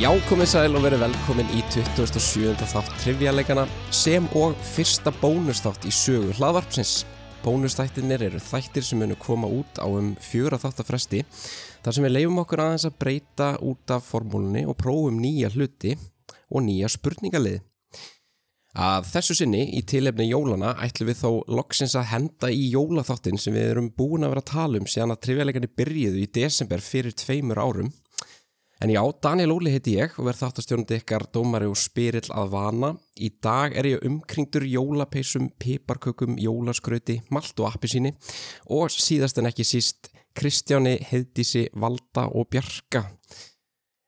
Já, komið sæl og verið velkomin í 27. þátt trivjaleikana sem og fyrsta bónusþátt í sögu hlaðvarpsins. Bónusþættirnir eru þættir sem munu koma út á um fjöra þáttafresti þar sem við leifum okkur aðeins að breyta út af formúlunni og prófum nýja hluti og nýja spurningalið. Að þessu sinni í tilefni jólana ætlum við þó loksins að henda í jólaþáttin sem við erum búin að vera að tala um síðan að trivjaleikani byrjuðu í desember fyrir tveimur árum. En já, Daniel Óli heiti ég og verð þáttastjónandi ykkar dómari og spyrill að vana. Í dag er ég umkringdur jólapeisum, piparkökum, jólaskröti, malt og appisíni og síðast en ekki síst Kristjáni, Heiðdísi, Valda og Bjarka.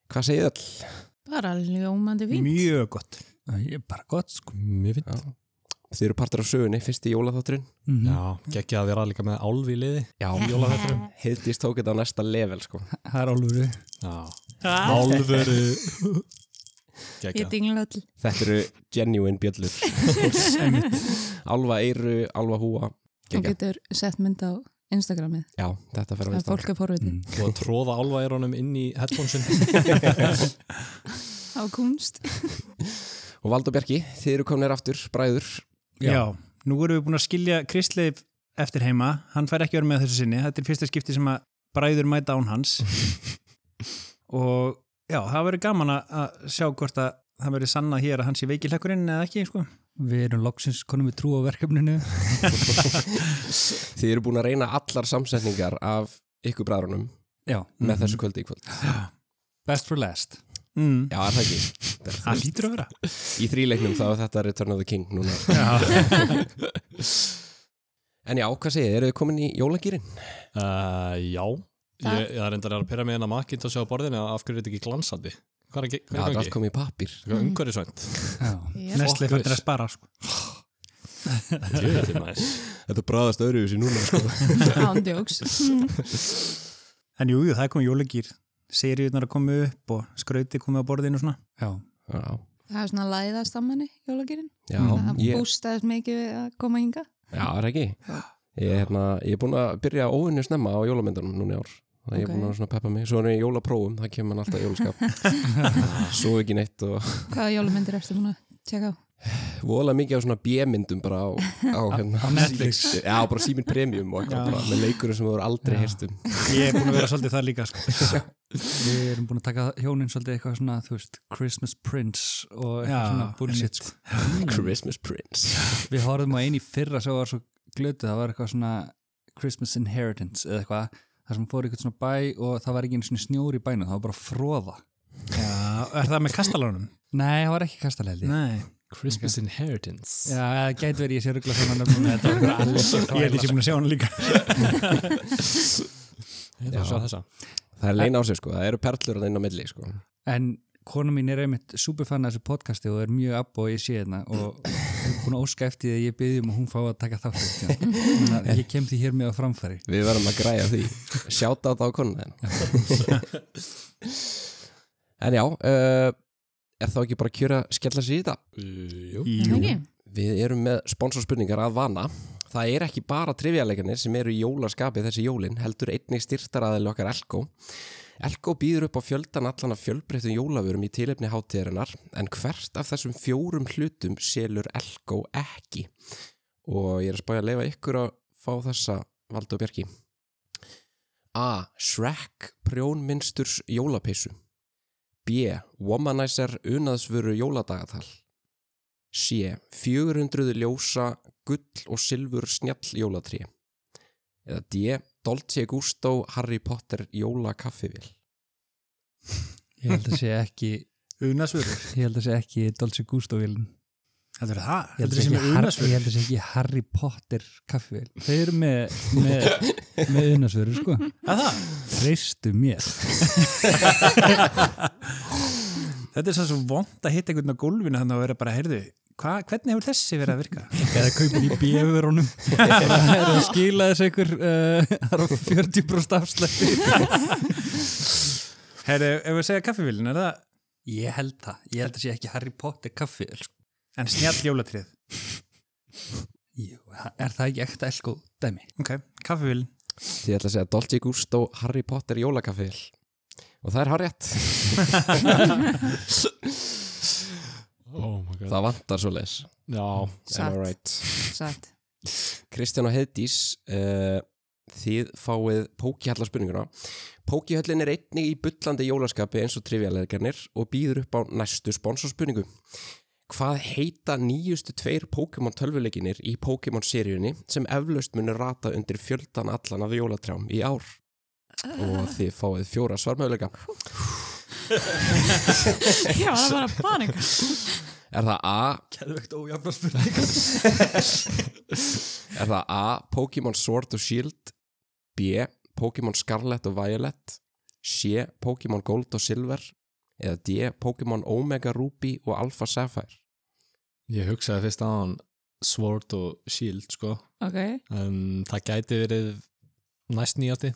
Hvað segið all? Bara ljómandi fín. Mjög gott. Ég er bara gott, sko, mjög fint. Já. Þið eru partur af sögunni, fyrsti jólaþátturinn. Mhm. Já, geggja að vera líka með álfi í liði Já, í jólaveturum. Heiðdís tók þetta á næsta level, sko. Það er álfuru. Já, Ah, álfuru ég Geggja dingla öll. Þetta eru genuine bjöllur. Alva eiru, alva húa. Þú Geggjað. getur sett mynd á Instagramið. Já, þetta fer á Það er Insta. fólk að forviti. og að tróða álvaeirónum inn í headphonesin Á kunst. Og Valda og Bjarki, þið eru komnir aftur, bræður. Já. nú erum við búin að skilja Kristleif eftir heima. Hann fær ekki að vera með þessu sinni. Þetta er fyrsta skipti sem að bræður mæta án hans. og já, það verður gaman að- að sjá hvort að það verður sanna hér að hann sé veikilekkurinn eða ekki, sko. Við erum loksins konum við trú á verkefninu. Þið eru búin að reyna allar samsetningar af ykkur bræðrunum Já, Mhm. með þessu kvöldi í kvöld. best for last. Mm. Já, er það ekki. Það er Það lítur að vera. Í þríleiknum þá er þetta Return of the King núna. Já. En já, hvað segið, þið? eru þið komin í jólagýrin? uh, Já, Það- ég, ég er reyndar að pyrra mig inn að makinn til að sjá á borðinu að af hverju er þetta ekki glansandi Hvað er ekki? Já, það Hvað er er sko- allt ekki? komið í pappir. Það Mm. er umhverjusvænt Já. Yep. Nestle Fokkaus. fyrir að spara, sko. Djöfull er næs. Þetta bræðast öðruvísi núna, sko. Ándjóks. En jú, jú, það er komið jólagýr. Seriðunar að koma upp og skrauti komið á borðinu og svona. Já. Já, Það er svona læðast að manni, jólagirinn. já, Það ég, bústaðist mikið við að koma hinga. já, er ekki. Ég, er hérna, ég er búin að byrja óvinni snemma á jólamyndunum núna í ár. Það ég er Ok. búin að svona peppa mig. Svo erum við í jólaprófum, það kemur hann alltaf í jólaskap. Svo ekki neitt og Hvaða jólamyndir ertu búin að tjekka á? voðalega mikið á svona B-myndum bara á, á hérna. Netflix. Já, bara síminn premium og eitthvað Já. bara með leikurum sem þú eru aldrei heyrst um. Ég er búin að vera svolítið það líka, sko. Við erum búin að taka hjónin svolítið eitthvað svona, þú veist, Christmas Prince og eitthvað Já, svona bullshit. einmitt. Sko. Christmas Prince. Við horfðum á eini fyrra sem var svo glötuð, það var eitthvað svona Christmas Inheritance eða eitthvað. Það sem fór í eitthvað svona bæ og það var ekki einu svona snjór í bænum, það var bara fróða. Já, er það með kastalánum? Nei, það var ekki kastalheldi. Nei. Christmas Inheritance Já, það gæti verið ég sé ruggla saman nöfnum, þetta var eitthvað alls. Ég held ég sé búin að sjá hann líka. Ég þarf að sjá þessa. Það er leina á sig sko, það eru perlur að inn á milli sko. En konu mín er einmitt superfann af þessu podcasti og er mjög app og ég sé hérna og er búin að óska eftir því að ég byrði um að hún fá að taka þátt eftir það. Ég kem því hér með á framfæri. Við verðum að græja því. Sjáta á það á konuna þenn. en já, uh, er þá ekki bara að kjöra að skella sér í þetta? Uh, jú. Það ekki? Við erum með sponsorspurningar að vana. Það er ekki bara trivjaleganir sem eru í jólaskapi þessi jólin, heldur einnig styrtaraðil okkar Elko. Elko býður upp á fjöldan allan af fjölbreyttum jólafurum í tilefni hátíðarinnar, en hvert af þessum fjórum hlutum selur Elko ekki. Og ég er að spája að leifa ykkur að fá þessa valdu og bjergi. A. Shrek prjónmynsturs jólapeysu. B. Womanizer unaðsvöru jóladagatal. C. 400 ljósa gull og silfur snjall jólatrí eða D. Dolce Gusto Harry Potter jólakaffivil Ég held að sé ekki, Unasvörur. ég held að sé ekki Dolce Gusto vilin. Heldur það? Ég held Heldur það að sé sem er ekki, Har- ég unasvörur? held að sé ekki Harry Potter kaffivil. Þau eru með, með, með unnasveru sko. Að það? Reistu mér. Þetta er svo svo vond að hitta einhvern á gólfinu þannig að vera bara, heyrðu, hva, hvernig hefur þessi verið að virka? Eða kaupin í bjöfurunum. Það er að skila þess einhver, uh, það er á 40% afslætti. Heyrðu, ef við segja kaffivílin, er það? Ég held það. Ég held að sé ekki Harry Potter kaffið. Sko. En snjall jólatrið. Jú, er það ekki ekta elko dæmi? Ok, kaffivílin. Þið ætla að segja Dolce Gusto Harry Potter jólakaffivil og það er hárétt Oh my god það vantar svo leis Já, Satt, right. satt. Kristján og Heiðdís uh, þið fáið pókihalla spurninguna Pókihöllin er einnig í bullandi jólaskapi eins og trivialergarnir og býður upp á næstu sponsorspurningu Hvað heita nýjustu tveir Pokémon tölvuleikinir í Pokémon seríunni sem eflaust munir rata undir fjöldan allan af jólatrjám í ár og þið fáið fjóra svarmöðuleika Ég var bara að panika. Er það A, Geðvegt ójafna spurningar er það A Pokémon Sword og Shield B, Pokémon Scarlet og Violet C, Pokémon Gold og Silver eða D, Pokémon Omega Ruby og Alpha Sapphire Ég hugsaði fyrst á hann Sword og Shield, sko Ok, en það gæti verið næst nýjasti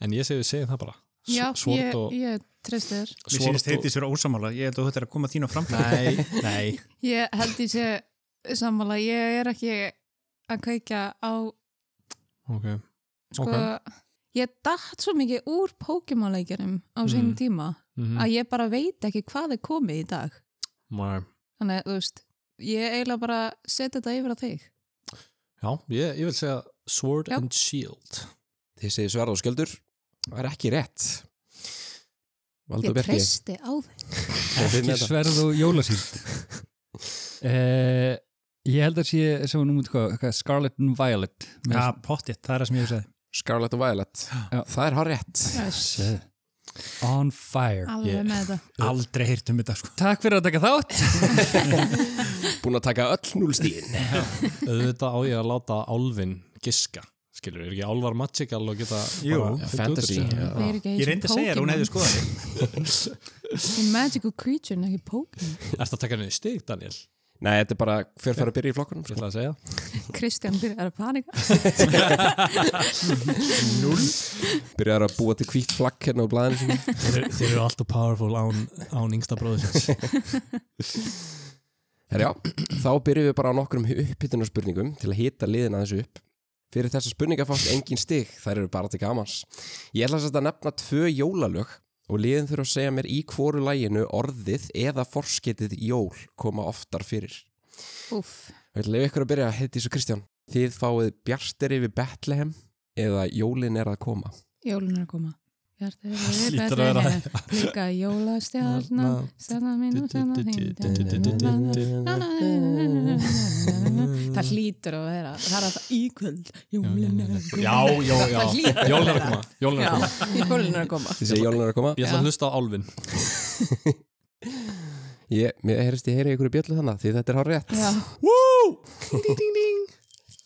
en ég segi við segjum það bara S- já, Sword ég, og ég treysti þér. Mér Sword sýnist heitist fyrir ósamála, ég held að þetta er að koma þín á framtíð. Nei, nei Ég held ég sé sammála, ég er ekki að kveikja á, okay. sko, ég datt svo mikið úr Pokémon-leikjarum á Mhm. sínum tíma Mm að ég bara veit ekki hvað er komið í dag. Þannig, þú veist, ég eiginlega bara setja þetta yfir á þig. Já, ég, ég vil segja Sword Já. and Shield Þið segið sverð og skjöldur Það er ekki rétt Valdur Ég Berki treysti á þig. þið ekki með það? sverð og jólasýld eh, ég held að sé sem hún mútið hvað, hvað, Scarlet and Violet Já, pottitt, það er það sem ég hugsaði. Scarlet og Violet Já. Það er hár rétt Yes. on fire Alveg Ég- með þetta. Aldrei heyrt um þetta, sko. takk fyrir að taka þátt Búin að taka öll núlstíðin Auðvitað á ég að láta álfin giska skilur, er ekki álvar magical og geta Jú. bara Já, fundið út fantasy, úr þessu? já. Við erum ekki Ég eins og reyndi að segja þér, hún Pokémon. hefði skoðað þig. Í Magical Creature, en ekki Pokémon. Ertu að taka henni stig, Daniel? Nei, þetta er bara hver fær að byrja í flokkunum Ég sko. ætla að segja Kristján byrjar að panika. Byrjar að búa til hvítt flakk hérna á blæðinu sinni Þeir, þeir eru alltaf powerful án, án yngsta bróðisins Herra, já, þá byrjum við bara á nokkrum upphittunarspurningum til að hita liðin aðeins upp. Fyrir þessa spurninga fást engin stig, þær eru bara til gamans. Ég ætla samt að nefna tvö jólalög og liðin þurfa að segja mér í hvoru læginu orðið eða forsketið jól koma oftar fyrir. Úff. Ég ætla að leiða ykkur að byrja, heiti svo Kristján. Þið fáið bjartir yfir Betlehem eða jólin er að koma. Jólun er að koma. Hjartað er að Hlýtur að vera vera. betri. Líka jólastjarnan, stjarnan mín og stjarnan þín. Það hlýtur að vera. Það er alltaf íkvöld. Jólun er að koma. Já, já, já Það hlýtur. Jólin er að koma, jólin er að koma Jólun er að koma. Þið segja jólin er að koma. Ég ætla að hlusta á álfin Ég, mér heyrist ég heyri ykkur bjöllu þannig því þetta er hár rétt. Já,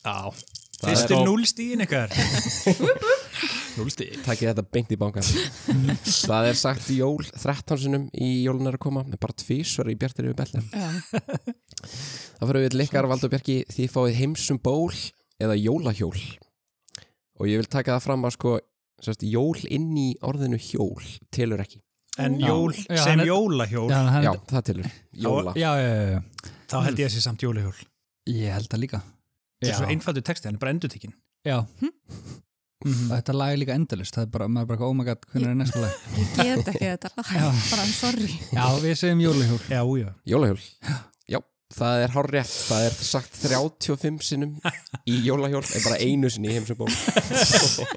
Já, Fyrstu núlstíðin eitthvað. núlsti Takkið þetta beint í bankan Það er sagt í jól 13 sinum í jólun er að koma en bara tvísvar í Bjartir yfir Bellin já. Það fyrir við leikar Valdur Bjarki Þið fáið heimsum ból eða jólahjól og ég vil taka það fram að sko sérst, jól inn í orðinu hjól telur ekki En Já. jól, Já, hann sem er- jólahjól, já, hann, Já, já. það telur Jóla Já, já, já, já, þá held ég að sé samt jólahjól. ég held það líka Þetta er Já. svo einfaldur texti, hann er bara endutekinn. já Mhm. og þetta lag er líka endalist það er bara, maður er bara, oh my god, hvernig er næsta lag Ég get ekki þetta lag. Bara, sorry. já, við segjum jólihjól Já, já. Jólahjól Já, það er hár rétt Það er sagt 35 sinnum í jólahjól en bara einu sinni í heimsum ból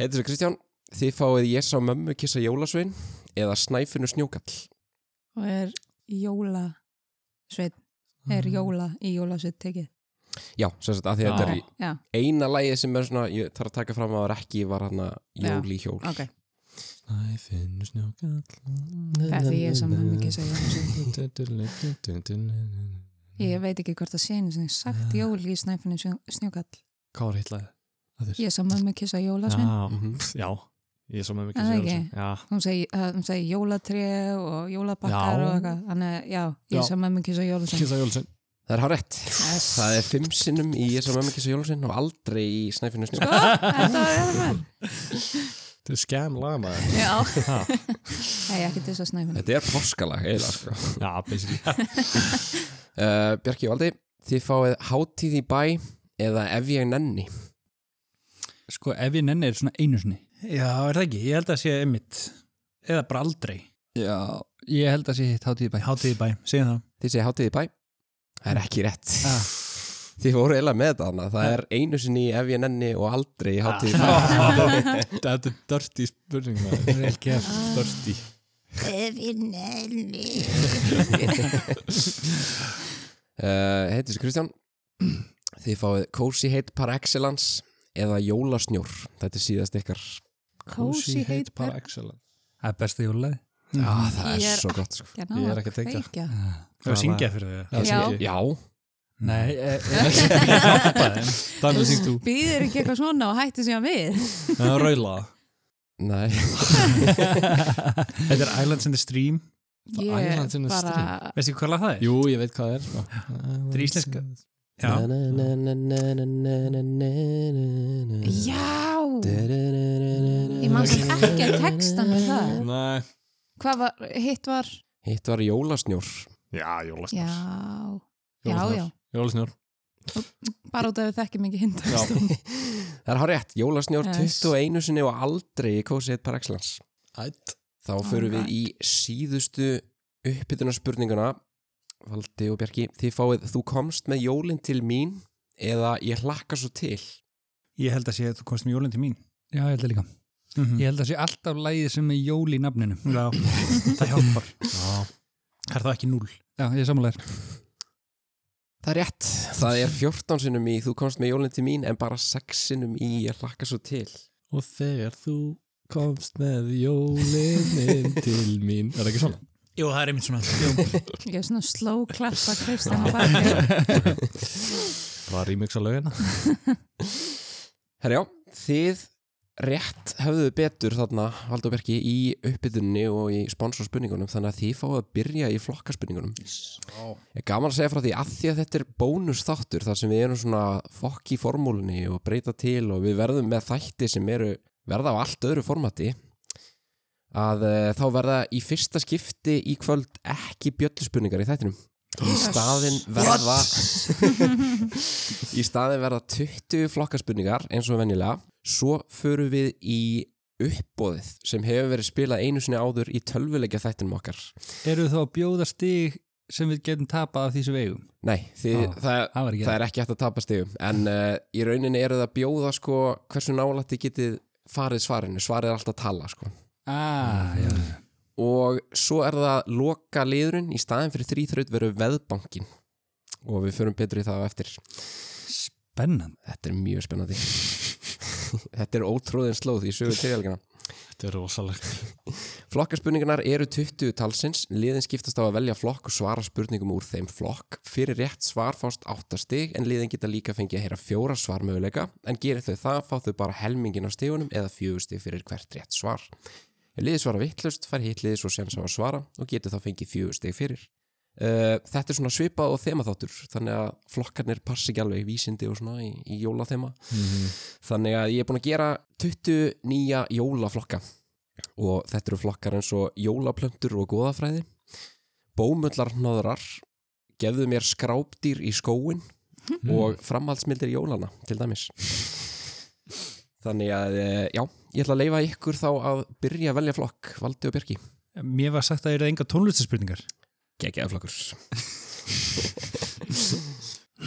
Heitir svo Kristján Þið fáið ég sá mömmu kissa jólasvein eða snæfinu snjókall Og er jóla sveit. Er jóla í jólasveit tekið. Já, sem sagt að því að þetta er í- Já, eina lægið sem er svona, ég þarf að taka fram að var ekki var hann að jóli hjól ok. Æ, finnur snjókall Það er því ég saman mikið segja jólasveit. Hvað Ég veit ekki hvort það sé einu sem Ah. sagt jól í snæfinu Snjó- snjókall. var hittlaðið? Ég sá mömmu kissa jólasvinn. Já, Mhm. já, ég er svo með mikið Er það sjálfsög. ekki? Já, Hún segi, uh, hún segi jólatré og jólabakkar Já. og eitthvað. Þannig, að, já, ég Já. sá mömmu kissa jólasvinn. Kissa Jólsson Það er hár rétt Yes. Það er fimm sinnum í ég sá mömmu kissa jólasvein og aldrei í snæfinu snjókall Þetta var eða mér. Þetta er skam lagmaður Já. Nei, ekki til þess að snæfinu. Þetta er páskalag eiginlega sko Já, basically Uh, Bjarki og Valdi, þið fáið hátíð í bæ eða ef ég nenni. sko, ef ég nenni er svona einu sinni Já, er það ekki? Ég held að sé einmitt eða bara aldrei Já, ég held að sé hitt hátíð í bæ hátíði bæ, segjum það Þið segja hátíð í bæ Það er ekki rétt Ah. Þið voru eiginlega með þetta hana Það er einu sinni í ef ég nenni og aldrei í hátíð í bæ Þetta er dörti spurning maður. Vel gert. Dörti uh, Heitir sér Kristján Þið fáið Cozy Hate par excellence eða Jólasnjór Þetta er síðast ykkar Cozy heit par excellence Það er besta jólaði Já, það er, Ég er- svo gott sko. Hérna, Ég er ekki að tengja. kveikja. Það var syngja fyrir þau Já. Já, Nei, e, e, Þannig syngt þú Býður ekki eitthvað svona og hætti síðan við Það er raula nei Þetta er Islands in the Stream Ég Islands in the bara Veistu hvað lag það er? Jú, ég veit hvað það er sko. Það er íslenska. Já, Na, na, na, na, na, na, na, na, na, na. Já, Ég ég man sem ekki að textan með það Nei Hvað var, hitt var Hitt var jólasnjór Já, jólasnjór Já, já, já Jólasnjór Bara út af við þekkjum ekki hinn Já. textan Það er hár rétt, jólasnjór Yes. 21 sinni og aldrei í Cozy Hate par excellence Ætt Þá förum við Alright. í síðustu uppbytuna spurninguna Valdi og Bjarki, þið fáið Þú komst með jólin til mín eða ég hlakka svo til ég held að sé að þú komst með jólinn til mín já, ég held að líka Mm. Mhm. Ég held að sé alltaf lægið sem er jól í nafninu Já, það hjálpar Er það ekki núl? Já, ég er samanlegar Það er rétt, það er 14 sinnum í Þú komst með jólin til mín en bara 6 sinnum í ég hlakka svo til Og þegar þú komst með jólinin til mín Er það ekki svona? Jú, það er einmitt svona Jú. Ég er svona slow klappa Kristján á bakið. Það var remix á lögina Herjá, þið rétt höfðuð betur þarna Valdi og Bjarki í uppbytunni og í sponsorspurningunum þannig að þið fáið að byrja í flokkaspurningunum Ég er gaman að segja frá því að því að þetta er bónus þáttur þar sem við erum svona fokk í formúlunni og breyta til og við verðum með þætti sem eru verða á allt öðru formati að e, þá verða í fyrsta skipti í kvöld ekki bjölluspurningar í þættinum í staðin verða í staðin verða 20 flokkaspurningar eins og venjulega svo förum við í uppbóðið sem hefur verið spilað einu sinni áður í tölvuleikja þættinum okkar Eru þá að bjóða stig sem við getum tapað af því sem við eigum Nei, því, Já, það, það var ekki það er ekki hægt að tapa stegum en uh, í rauninni eru það að bjóða sko, hversu nálætti getið farið svarinu svarið er alltaf að tala sko. Ah, já og svo er það loka liðurinn í staðin fyrir þrýþraut verður veðbankin og við förum betur í það á eftir Bennand þetta er mjög spennandi þetta er ótrúðin slóð í sögu tilhælgina Þetta er rosalegt Flokkarspurningarnar eru 20 talsins, liðin skiptast á að velja flokk og svara spurningum úr þeim flokk. Fyrir rétt svar fást 8 stig en liðin geta líka fengið að heyra fjóra svarmöguleika en gerir þau það fá þau bara helmingin á stigunum eða fjögur stig fyrir hvert rétt svar. Ef liðið svara vittlust fær hitt liðið svo séns á að svara og getur þá fengið fjögur stig fyrir. Uh, þetta er svona svipað og þemaþáttur þannig að flokkarnir passi ekki alveg í vísindi og svona í, í jólathema Mhm. þannig að ég er búin að gera 20 nýja jólaflokka og þetta eru flokkar eins og jólaplöntur og goðafræði bómullar hnoðrar gefðu mér skrápdýr í skóin og framhaldsmildir jólana til dæmis þannig að eh, já, ég ætla að leifa ykkur þá að byrja að velja flokk Valdi og Björki Mér var sagt að það eru enga tónlistaspurningar geggjaði flokkur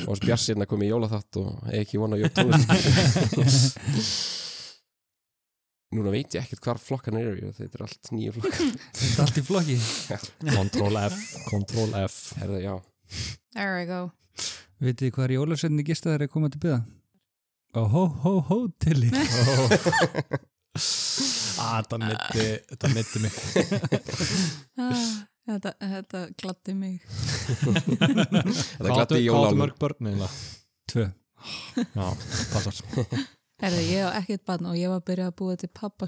og spjarsirna kom í jólaþátt og eigi ekki vona að jólatónlist Núna veit ég ekkert hvar flokkan eru þetta er allt nýju flokkar Þetta er allt í flokki Control F Control F Herða, já, There we go Vitið þið hvað er jólasveitinni gista þegar að koma til byða? Ó, hó, hó, hó, tilli Ah, þetta mitti Þetta mitti mig ah, Þetta, þetta gladdi mig þetta glætti í Hvað áttu jólálum mörg börn eiginlega? Tvö Já, passar Herðu, ég á ekkert barn og ég var að byrja að búa til pappa,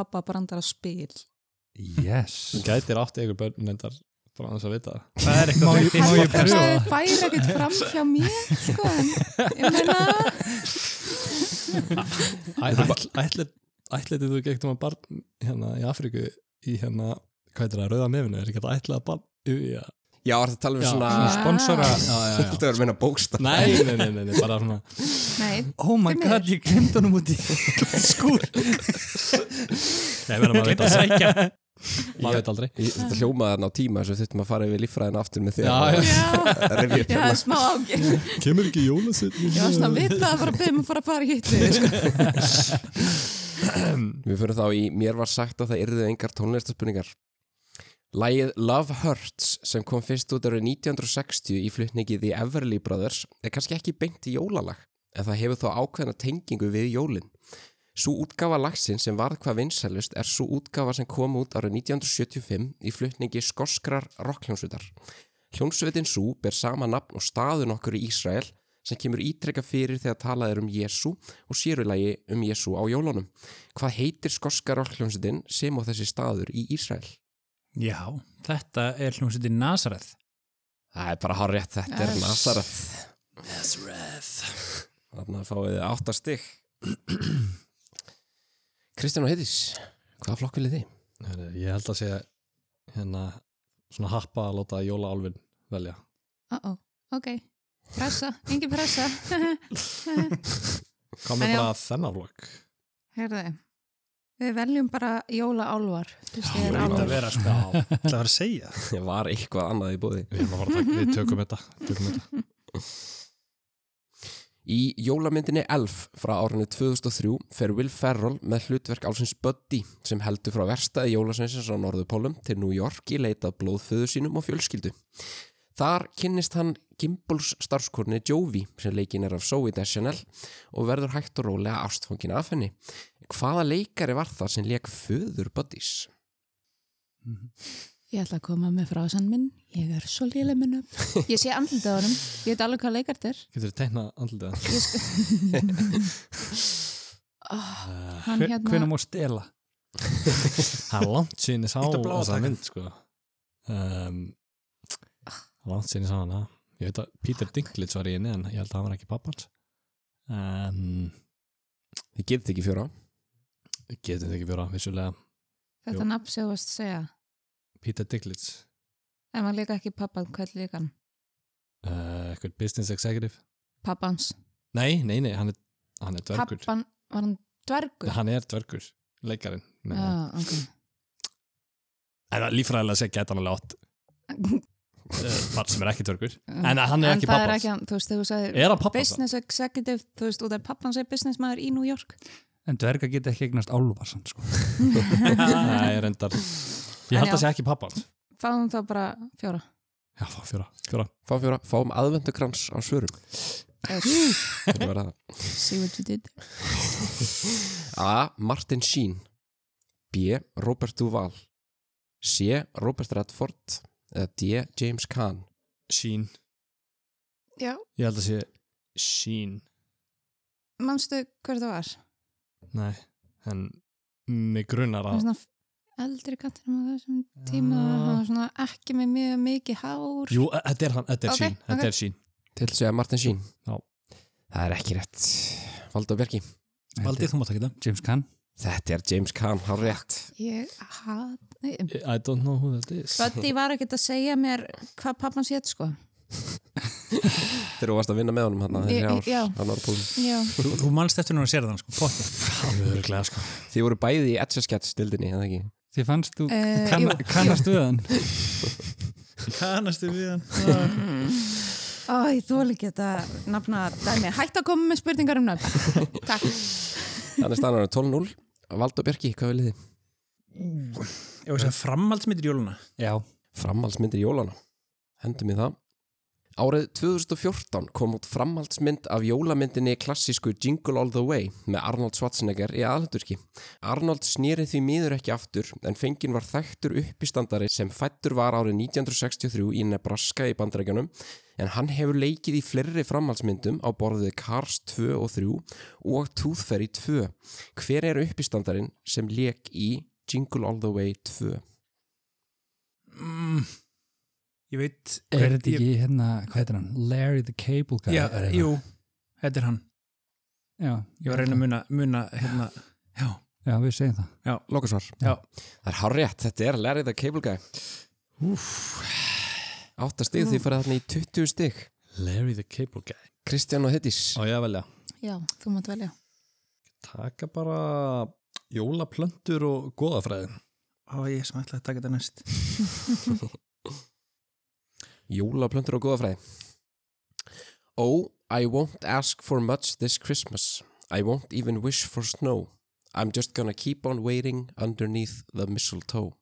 pappa brandara spil Yes Þú gætir átti ykkur börn nefndar bara annars að vita það Það er eitthvað Má ég Heldur að pröfa? það færi ekkert fram hjá mér sko, en ég meina Ætlaði ætlaði þú gekkt um að barn hérna í Afríku í hérna, hvað er það, rauða nefinu er ekki hægt að ætlaði að barn yfir í að Já, er það að tala um Já. svona Ah. Sponsora Já, já, já. Þetta verður meina bókstaf Nei, nei, nei, nei, nei, bara svona Nei, Oh my Finnur. god, ég glemt honum út í skúr Nei, verður maður veit aldrei Maður veit aldrei Ég- Þetta hljómaði þarna á tíma þess að við þurftum að fara yfir líffræðina aftur með þér Já, já. já, Rifja upp já, hérna. smá ágjörn Kemur ekki jólasett Ég var svona að vita að fara að beða mig að fara að fara í hitlu sko. Við fyrir þá í Mér var sagt að það yrðu engar tónlistaspurningar Lægið Love Hurts sem kom fyrst út árið 1960 í flutningi The Everly Brothers er kannski ekki beint í jólalag en það hefur þó ákveðna tengingu við jólin. Sú útgafa lagsin sem varð hvað vinsælust er svo útgafa sem kom út árið 1975 í flutningi skoskrar rockljónsvitar. Hljónsvitin Sú ber sama nafn og staðun okkur í Ísrael sem kemur ítrekka fyrir þegar talað er um Jésu og sérulagi um Jésu á jólunum. Hvað heitir skoska rockljónsvitin sem á þessi staður í Ísrael? Já, þetta er hljómsveitin Nazareth. Það er bara hár rétt, þetta er Yes. Nazareth. Nazareth. Þannig að fáið þið átta stygg. Kristján og Heiðis, hvaða flokk viljið þið? Ég held að segja hérna svona happa að láta jólaálfin velja Uh-oh, ok Pressa, engin pressa Hvað með En já. bara þennan flokk? Herði, við veljum bara jóla álvar Ég veit Það að vera sko. Það var að segja. Ég var eitthvað annað í bóði. Við, erum að fara að taka- við tökum þetta, tökum þetta. Í jólamyndinni Elf frá árinu 2003 fer Will Ferrell með hlutverk álsins Buddy sem heldur frá verstaði jólasveinsins á Norðupólum til New York í leitað blóðföðu sínum og fjölskyldu. Þar kynnist hann Gimbals starfskorni Jovi sem leikinn er af Zoe Deschanel og verður hægt og rólega ástfangin af henni. Hvaða leikari var það sem leik föður Buddys? Ég ætla að koma með frásan minn Ég er svo léle munum Ég sé andlita á honum, ég veit alveg hvað leikart er Getur þið teiknað andlitið hans? Ég sko oh, Hann Hve- hérna Hvenær má stela? Það er langt síðan ég sá Íttu á bláa þessa takkann. mynd sko. um, Langt síðan ég sá hana Ég veit að Peter Dinklage var í henni en ég held að hann var ekki pappans En Þið getið ekki fjóra. getum þetta ekki vera vissulega Þetta nafn sem þú varst að segja Peter Dinklage En maður leika ekki pappan, hvað leika hann? uh, eitthvað business executive Pappans Nei, nei, nei, hann er, hann er dvergur Pappan, var hann dvergur? Hann er dvergur, leikarinn Nei, Já, nei. Ah, ok En það líffræðilega sé gæti hann alveg átt uh, barn sem er ekki dvergur En hann er Mm. Ah. En ekki það er pappans ekki hann, þú veist, þegar þú sagði Er hann pappans? business executive, þú veist, út af pappan segir business maður í New York En dverga geta ekki eignast álvarsan sko. Nei, reyndar Ég En held að já. sé ekki pappans Fáðum þá bara fjóra Já, fá fjóra, fjóra Fá fjóra, fáum aðvendukrans á svörum. Yes. Þetta var það. See what you did A. Martin Sheen B. Robert Duval C. Robert Redford eða D. James Caan Sheen Já, Ég held að sé Sheen manstu hver það var? Nei, en mig grunnar Það er að svona eldri kattinum á þessum tíma hann var svona ekki með mjög mikið hár Ah. Jú, e- þetta er hann, þetta er Ok, Sheen Þetta ok. er Sheen Til að segja Martin Sheen Já. Það er ekki rétt Valdur Bjarki Valdið, þú mátt ekki það. James Caan Þetta er James Caan, hann rétt Ég hat nei, I don't know who that is Buddy var ekkert að segja mér hvað pappan sétt sko Þegar þú varst að vinna með honum hann þessi Ég- ár, já. hann var búinn Já, Þú, þú manst eftir núna að sér þann sko. Pott. Örglega, sko Þið voru bæði í Etchaskets dildinni, eða ekki? Þið fannst þú Eh, kann, jú, kannast við hann Kannastu við hann? Ó, ég þóli ekki þetta nafna dæmi Hætt að koma með spurningar um nöfn Takk Þannig stannar hann 12-0 Valdur Bjarki, hvað viljið þið? Ég veist að framhaldsmyndir jóluna. Já, Framhaldsmyndir jólana Hendum í það Árið 2014 kom út framhaldsmynd af jólamyndinni klassísku Jingle All The Way með Arnold Schwarzenegger í aðhaldurki. Arnold snýrið því miður ekki aftur en fenginn var þekktur uppistandari sem fættur var árið 1963 í Nebraska í bandarækjanum en hann hefur leikið í fleiri framhaldsmyndum á borðið Cars 2 og 3 og Tooth Fairy 2. Hver er uppistandarin sem leik í Jingle All The Way 2? Mm. Eh, Ég veit... er þetta ekki hérna, hvað heitir hann? Larry the Cable Guy Já, er eitthvað. jú, þetta er hann. já, Ég var að reyna að muna, muna hérna... Já, já, við segjum það Lokasvar. Já. Það er hárétt, þetta er Larry the Cable Guy. 8 stig, Mm. þið farið þarna í 20 stig Larry the Cable Guy Kristján og Hedís Á ég að velja Já, þú mátt velja. Taka bara jólaplöntur og goðafræðin Ó, ég sem ætlaði að taka þetta næst. Jólaplöntur og góðafræði Oh, I won't ask for much this Christmas I won't even wish for snow I'm just gonna keep on waiting underneath the mistletoe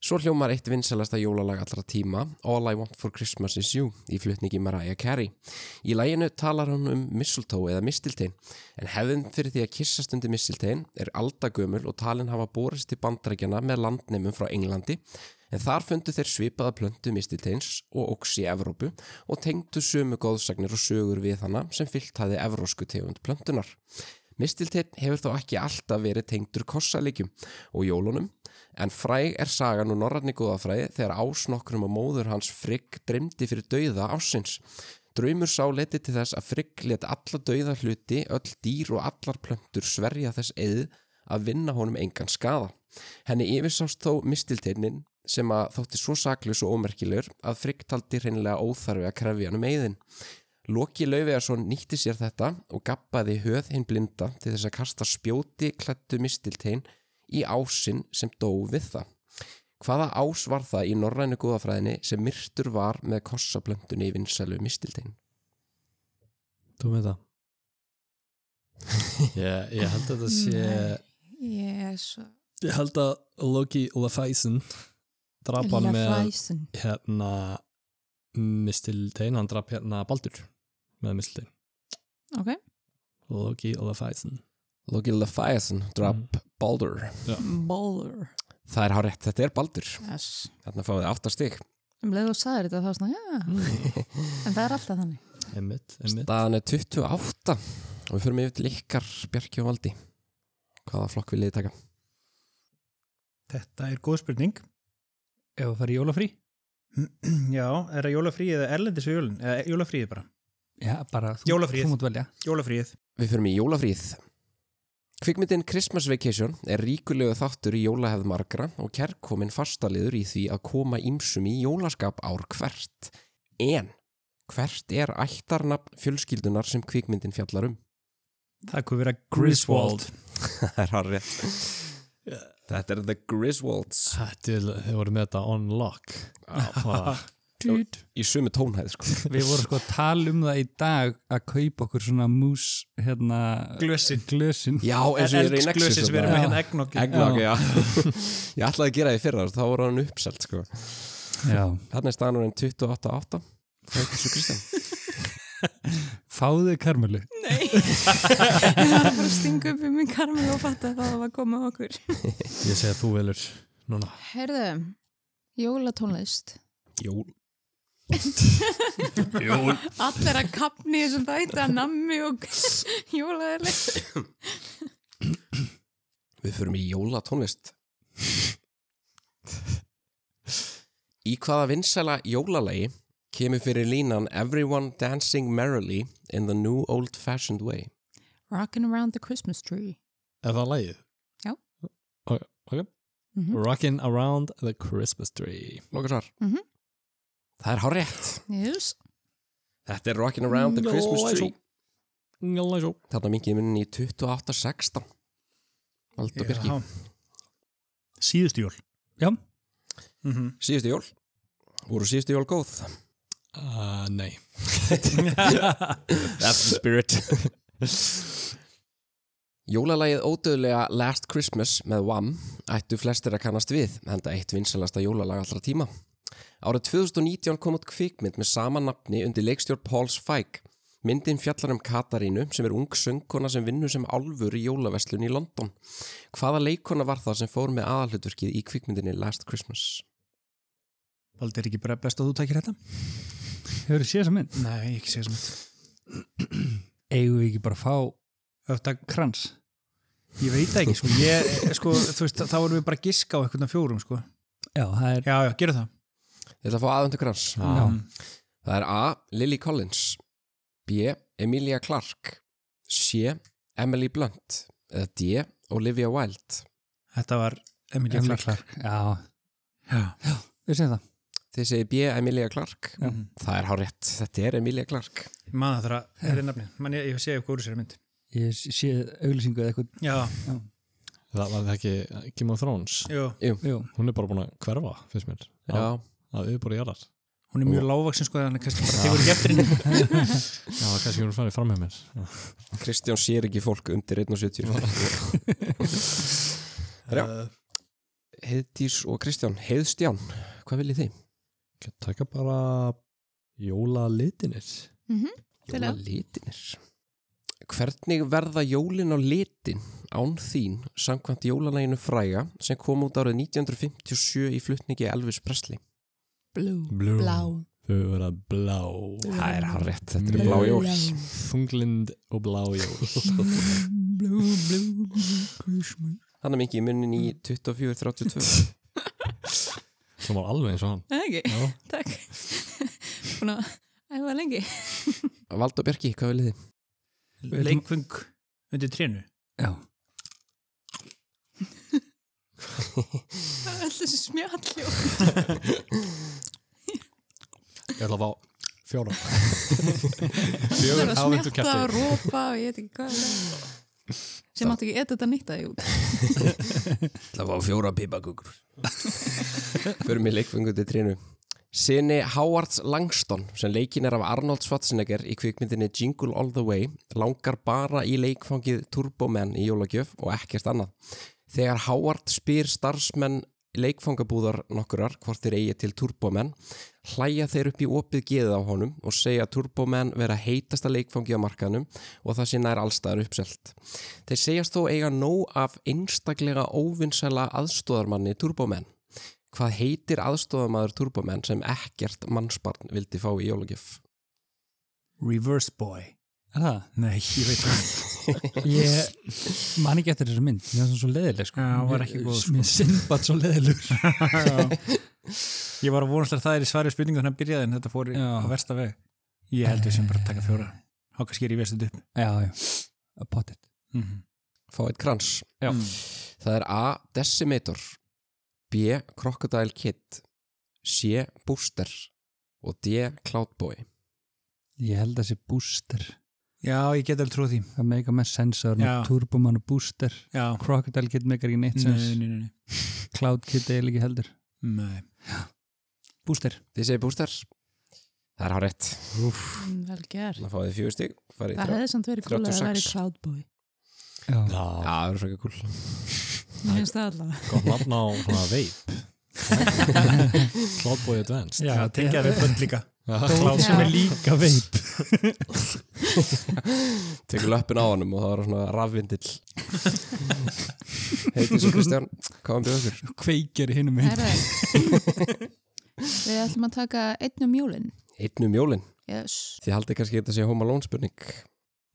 Svo hljómar eitt vinsalasta jólalag allra tíma All I want for Christmas is you í flutningi Mariah Carey Í læginu talar hún um mistletoe eða mistiltein en hefðin fyrir því að kyssast undir mistiltein er aldagömul og talin hafa borist til bandarækjana með landnemum frá Englandi en þar fundu þeir svipaða plöntu mistilteins og óks í Evrópu og tengdu sömu góðsagnir og sögur við hana sem fyllt hafi evrósku tegund plöntunar. Mistilteinn hefur þó ekki alltaf verið tengdur kossalegjum og jólunum, en fræg er sagan og norrarni góðafræði þegar ásnokkrum og móður hans Frigg dreymdi fyrir dauða ásins. Draumur sá leti til þess að Frigg let alla dauða hluti, öll dýr og allar plöntur sverja þess eð að vinna honum engan skaða. Henni yfirsást þó mistilteinin sem að þótti svo saklaus og ómerkilegur að Frigg taldi hreinlega óþarfi að krefja hann um eiðin. Loki Lauvegarsson nýtti sér þetta og gappaði höð hinn blinda til þess að kasta spjóti klættu mistiltein í ásinn sem dó við það. Hvaða ás var það í norrænu góðafræðinni sem myrtur var með kossablöndunni í vinsælu mistiltein? Þú með það ég, ég held að það sé Nei, ég er svo... Ég held að Loki Lafæsen draf hann með Lafæsin. hérna mistiltein, hann draf hérna Baldur með mistiltein Ok. Loki Lafæsen Loki Leviathan drop Mm. Baldur. Baller. Það er hár rétt, þetta er Baldur. Yes. Þarna fáið þið áttastig. Um leið og sagðir þetta þá svona, já. En það er alltaf þannig. Emmitt, Emmitt Staðan er 28 og við förum yfir til ykkar Bjarki og Valdi. Hvaða flokk vil þið taka? Þetta er góð spurning. ef það fari í jólafrí Já, er það jólafríið eða erlendis við jólun? Eða jólafríið bara. já, bara, þú, Jólafríið. þú mátt velja Jólafríið. Við förum í jólafríð. Kvikmyndin Christmas Vacation er ríkulegu þáttur í jólahefð margra og kærkomin fastaliður í því að koma ýmsum í jólaskap ár hvert. En hvert er ættarnafn fjölskyldunar sem kvikmyndin fjallar um? Það kom vera Griswold. Griswold. Það er hár rétt. Þetta er The Griswolds. Þetta er- þau voru með þetta on lock Vá. Dude. Ah, Í sömu tónhæð, sko. við vorum sko að tala um það í dag að kaupa okkur svona mús hérna, Glösin. glösin Já, eins og ég reyna ekki Eldsglösin sem við erum með hérna eggnokki. Eggnog, já. ég ætlaði að gera því fyrra, þá voru hann uppselt, sko. já. Þarna er staðanurinn 28.8. Það er ekki svo Kristján. fáðu karmölu Nei. ég var bara að stinga upp í minn karmi og fatta að það var að koma að okkur. Ég segi að þú velur núna Herðu, jólatónlist. Jól. Allir að kapni þessum þætti að nammi og jólaðileg. Við förum í jólatónlist. í hvaða vinsæla jólalagi kemur fyrir línan Everyone Dancing Merrily in the New Old Fashioned Way? Rockin' around the Christmas tree. Er það lægið? Já. Ok, okay. Mhm. Mm. Rockin' around the Christmas tree Loka svar. Mhm. Það er hár rétt. Yes. Þetta er Rockin' Around the Nó, Christmas eins Tree. og- Njála svo Þarna mingiði minni í 28.16. Valdur Birki. Já. Síðustu jól. já, Mm Síðustu jól. Voru síðustu jól góð? uh, Nei That's the spirit Jólalagið ódöðlega Last Christmas með Wham ættu flestir að kannast við, enda eitt vinsalasta jólalag allra tíma. Árið 2019 kom út kvikmynd með sama nafni undir leikstjórn Pauls Feig. Myndin fjallar um Katarínu sem er ung söngkona sem vinnur sem álfur í jólaveslun í London. Hvaða leikona var það sem fór með aðalhutverkið í kvikmyndinni Last Christmas? Valdi er ekki bara best að þú takir þetta? hefur þið séð þessa mynd Nei, ekki segja sem þetta. eigum við ekki bara að fá Þetta, krans ég veit það ekki, sko. Ég, sko, þú veist, þá vorum við bara að giska á eitthvað fjórum, sko. já, það er Já, já, gerum það. Ég ætla að fá aðvendu krans. Ah. Já. Það er A. Lily Collins B. Emilia Clarke C. Emily Blunt eða D. Olivia Wilde Þetta var Emilia Emma Clark. Clark já, Já. við segjum það Þið segir B. Emilia Clark Já. Það er hárétt, þetta er Emilia Clark maður þarf að það er nafni, Man, ég, ég sé eitthvað úr sér mynd Ég sé auglýsingu eða eitthvað já, Það var það ekki Game of Thrones jú, Jú, Hún er bara búin að hverfa, finnst mér Já, Að auðbúri jarðar hún er mjög lágvaksin sko þannig að kannski bara tegur ekki eftir henni Já, kannski hún farið fram með mér Já. Kristján sér ekki fólk undir 1.70 Já. Heiðdís og Kristján, Heiðstján Hvað viljið þið? Ég Taka bara jólalitinir Til að- Jólalitinir Hvernig verða jólin á litin án þín samkvæmt jólalæginu fræga sem kom út árið 1957 í flutningi Elvis Presley Blue, Blú blá Þau verða blá Það er hárétt, þetta Mjög er blá jól blá. Þunglind og blá jól Blue, blue, blue Christmas Hann er mikið í munnin í 24.32 Svo var alveg eins og hann Það ekki, Já. takk Búin að æfa lengi Valdur Björki, hvað viljið þið? leikvöng undir trénu já Það er alltaf þessi smjalljó Ég ætla að fá fjóra Það er Fjögur að ávendu smjatta og kæfti rópa og ég veit ekki hvað það er. sem átti ekki eitthvað að nýta því út Það var fjóra pipakukur Förum í leikfengu til trínu Sinni Howards Langston sem leikin er af Arnold Schwarzenegger í kvikmyndinni Jingle All The Way langar bara í leikfangið Turboman í jólagjöf og ekkert annað Þegar Howard spyr starfsmenn leikfangabúðar nokkurar hvort þeir eigi til Turboman hlæja þeir upp í opið geðið á honum og segja að Turboman vera heitasta leikfangið á markaðnum og það sé nær allstaðar uppselt Þeir segjast þó eiga nóg af einstaklega óvinnsæla aðstóðarmanni Turboman. Hvað heitir aðstóðarmaður Turboman sem ekkert mannsbarn vildi fá í jólagjöf? reverse boy Er það? nei, ég veit það Ég man ekki eftir þessu mynd Mér var svo leðileg sko Já, hún var ekki góð, sko. Mér sinnbætt svo leðileg Já. ég var að vonast að það er í svari spurningu þannig að byrjaði en þetta fór í- Já. á versta veg ég held við sem bara að taka fjóra háka skýr í vestuð upp Já, já Pottet mm -hmm. Fá eitt krans. Já. Mm. Það er A. Decimator B. Crocodile Kid C. Booster og D. Cloudboy. Ég held að þessi booster já, ég get alveg trúið því Það meika með Já. sensor með turboman og booster já, Crocodile Kid meikar ekki neitt nei, sens nei, nei, Cloud Kid eiginlega ekki heldur nei. nei. búster Þið segir Booster? Það er hár rétt. Mm, Vel gerð Það fáið fjögur stig. farið í Það þrjá. hefði samt verið kúlega að 36. vera Cloudboy Já, Já, Já, það er frækka kúl. Mér finnst það allavega gott nafn á svona veip Cloudboy Advanced já, tengja við bönd líka Já. sem er líka veip tekur löppin á honum og það var svona rafvindill Heitir svo Kristján, hvað var bjóð okkur? kveikir hinum minn Herra, Við ætlum að taka einn um jólin Einn um jólin, yes. þið haldið kannski að þetta sé Home Alone spurning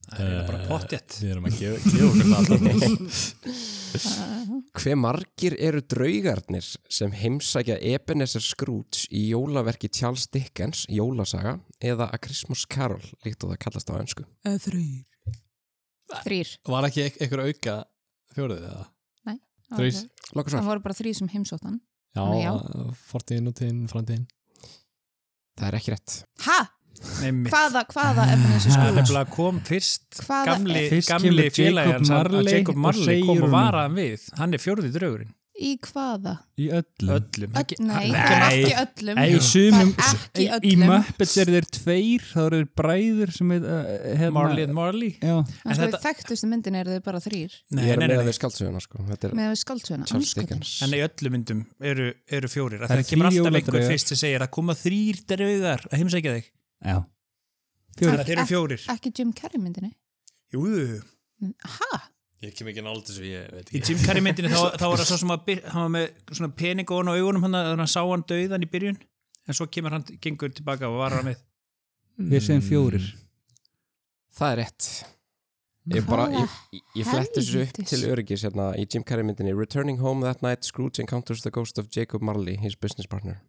það er eiginlega bara pottjett Við erum að gefa gefa okkur það Uh, Hve margir eru draugarnir sem heimsækja Ebenezer Scrooge í jólaverki Charles Dickens, Jólasaga eða A Christmas Carol, líkt og það kallast á önsku Eða Þrýr Þrýr Var ekki ek- einhver auka fjórið eða? Það Þrír. voru- Lokur Það svar, voru bara þrýr sem heimsóttan Þannig já. Já, fortíðin, nútíðin, framtíðin það er ekki rétt Ha? það Hvaða, hvaða Ebenezer Scrooge? nefnilega kom fyrst Hvaða- gamli, Fyrst gamli kemur Jacob félagi hans að- að Marley Jacob og Marley segir kom og honum- varaðan við hann er fjórði draugurinn Í hvaða? Í öllum öllum Öll, nei, Nei. ekki öllum Nei, í sumum Það er ekki Í öllum. Muppets eru þeir tveir þá eru þeir bræður sem heit hérna, Marley and Marley Já, Það þetta- þetta... þekktustu myndin eru þau bara þrýr Ég er með að við skaldsöguna sko, þetta er með skaldsöguna Charles andskotin. Dickens En í öllum myndum eru, eru fjórir að Það það, eru kemur þrír alltaf einhver jóladraugar. fyrst sem segir að koma þrýr draugar að heimsækja þig já. Þannig að þeir eru Ek- fjórir Ekki Jim Carrey myndinni Jú, Ha? Ég kem ekki nált þessu, ég veit í Jim Carrey myndinu þá, þá var það svo sem að byr- hann var með svona pening ofan á augunum hann að hann sá hann dauðan í byrjun en svo kemur hann, gengur tilbaka og varar hann við Við segjum fjórir Það er rétt Ég, bara, Hvaða ég, ég- ég fletti þessu upp helvítis? til öryggis hérna í Jim Carrey myndinni Returning home that night, Scrooge encounters the ghost of Jacob Marley, his business partner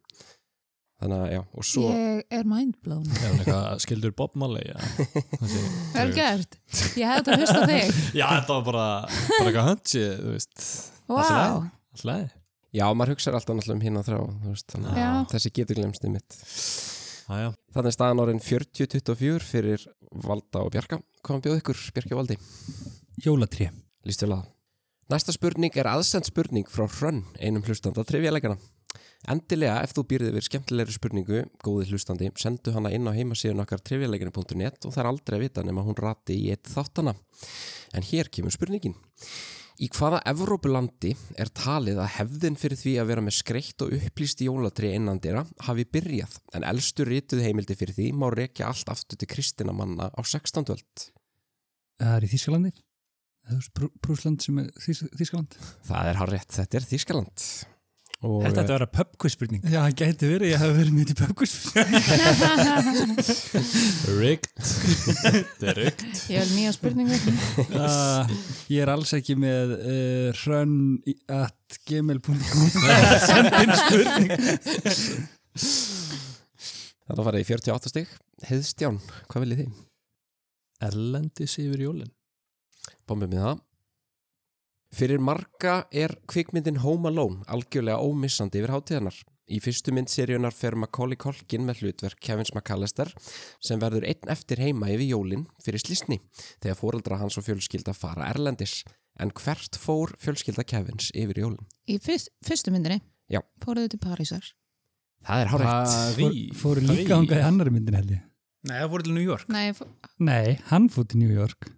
Þannig að já, og svo Ég er mindblown Er hann eitthvað skildur Bob Marley? Ja. Vel gert, ég hefði þetta að hlusta á þig Já, þetta var bara, bara eitthvað hunchi, þú veist Vá, Alltaf Já, maður hugsar alltaf náttúrulega um hérna þrá þú veist, þannig Já. að þessi getur glemst í mitt Æja, Þannig er staðan árin 40-24 fyrir Valda og Bjarka Hvað bjóð ykkur, Bjarki og Valdi? Jólatrí Lýst vel að. Næsta spurning er aðsend spurning frá Hrönn, einum hlustanda trivjaleikana. Endilega, ef þú býrði yfir skemmtilegri spurningu, góði hlustandi, sendu hana inn á heimasíðun okkar trivjaleikana.net og það er aldrei að vita nema hún rati í eitt þáttana. En hér kemur spurningin. Í hvaða Evrópulandi er talið að hefðin fyrir því að vera með skreitt og upplýst jólatri innan dýra hafi byrjað, en elstu rituð heimildi fyrir því má rekja allt aftur til kristina manna á 16. öld. Það er í Þískalandi Það er Brú- Brúsland sem er Þís, Þískaland Það er hár rétt, þetta er Þýskaland. Og, Þetta ætti að vera pubquiz-spurning Já, það gæti verið, ég hef verið mitt í pökkus rigged Þetta er rigged Ég vil nýja spurningu. uh, Ég er alls ekki með uh, hrönn at gmail.com Þannig að fara í 48 stig. Heiðstján, hvað viljið þið? Erlendis yfir jólin Bombið með það. Fyrir marga er kvikmyndin Home Alone algjörlega ómissandi yfir hátíðanar. Í fyrstu mynd seríunar fer Macaulay Culkin með hlutverk Kevins McAllister sem verður einn eftir heima yfir jólin fyrir slísni þegar fóreldra hans og fjölskylda fara erlendis. En hvert fór fjölskylda Kevins yfir jólin? Í fyrst, fyrstu myndinni Já. fóruðu til Parísar. Það er hárætt. Fóru líka hangað í annari myndin held ég Nei, það fór til New York Nei, fó- Nei, hann fór til New York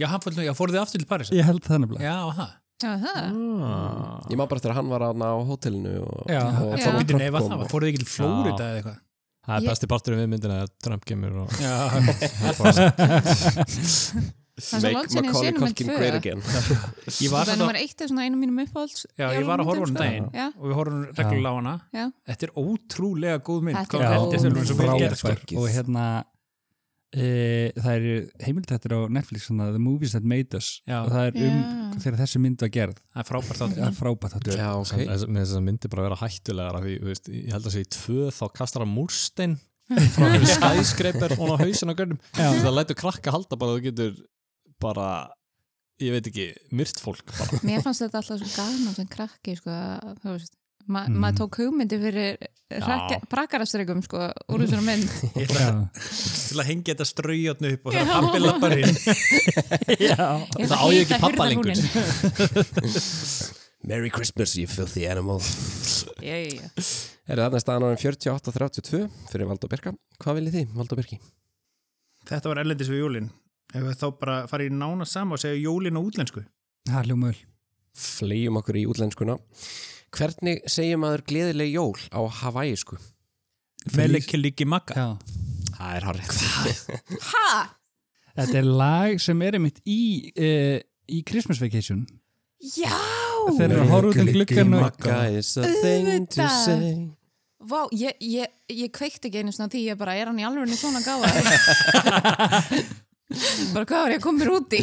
Já, hann fór til New York, fór þið aftur til Paris Ég held það nefnilega Já, það já, það. ah. Ég má bara eftir að hann var aðna á hótelinu og, Já, og Já. Donald Býtu Trump nefn að kom það, og- var. fór þið ekki til Flórida eða eitthvað Það er Ég- besti parturinn við myndina að Trump kemur og Já, Það er svo langt sinni Macaulay sinum með Culkin great tvö. again. ég var Það er samt að nummer eitt af svona einu mínum uppáhalds. Já, ég var að horfa á jólmyndum, sko. hún daginn Já. og við horfum reglulega á hana Já. Þetta er ótrúlega góð mynd Þetta hvað er hún eldist, hún er svo vel gerð, sko. frábær. og hérna e, það eru heimildættir á Netflix svona, The Movies That Made Us Já. og það er um Já. þegar þessi mynd var gerð Það er frábært þáttur það er frábært þáttur Já, ok. Samt- þess- með þess að myndi bara vera hættulegar af því, þú veist, ég held að segja í tvö þá kastar hann múrstein frá einhverju skæskreipar og á hausin á görnum það lætur krakka halda bara að þú getur bara, ég veit ekki myrt fólk bara Mér fannst þetta alltaf svo gaman sem krakki, sko, að, þú veist. Ma, Mm. Maður tók hugmyndi fyrir Já. brakkarastregum, sko, úr þessari mynd. Ég ætla Já. til að hengja þetta straujarnu upp og það Já. er pappi lappar inn Ég ætla Það á að hita ég ekki pabba hurðarhúnin. Merry Christmas, you filthy animal. Já, já, já. Er þarna staðan árin 48-32 fyrir Valdo Birka. Hvað viljið þið, Valdo Birki? Þetta var erlendis við jólin Ef við þá bara farið í nána sama og segja jólin á útlensku það er ljómaður Flegjum okkur í útlenskuna. Hvernig segir maður gleðileg jól á hawaiisku? Veliki líki makka Já. Það er hárið. Ha! þetta er lag sem er einmitt í e, í Christmas Vacation Já! þeir eru að horfa út um gluggan og is a thing to Auðvitað. say. Vá, ég, ég, ég kveikti ekki einu svona því, ég bara, er hann í alveg svona gáða? bara, hvað var ég að koma mér út í?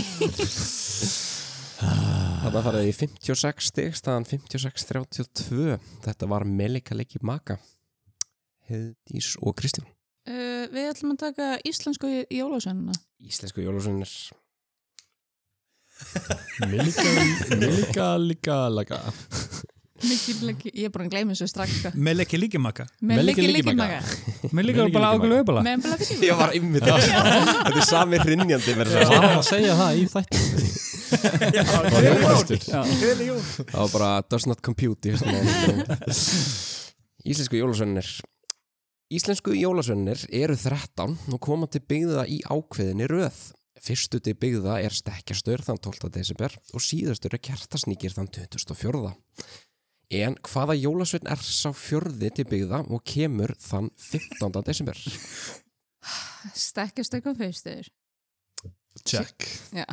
Þarna faraði í 56 stig, staðan 56-32. Þetta var Melika Leiki Maka. Heiðdís og Kristján. Uh, við ætlum að taka íslensku jólasönuna. Íslensku jólusunir. Milika, lika, lika Mikið, mikið, ég er bara að gleyma þessu strax. sko. Meliki líki makka Með Með leikið liggi- leikið liggi- maga. mér líka bara ágælu öfala Með bara fyrir Ég var ymmið þetta. Þetta er sami hrinnjandi verður Það var að segja það í þætti Það var óvastur Það var bara does not compute í þessum málum. Íslensku jólasönnir Íslensku jólasönnir eru 13 og koma til byggða í ákveðinni röð. Fyrstu til byggða er stekkjastur þann 12. desember og síðastur er kertasníkir þann 24. En hvaða jólasönn er sá fjörði til byggða og kemur þann 15. desember? Stekkjast eitthvað fyrstur. Check Já.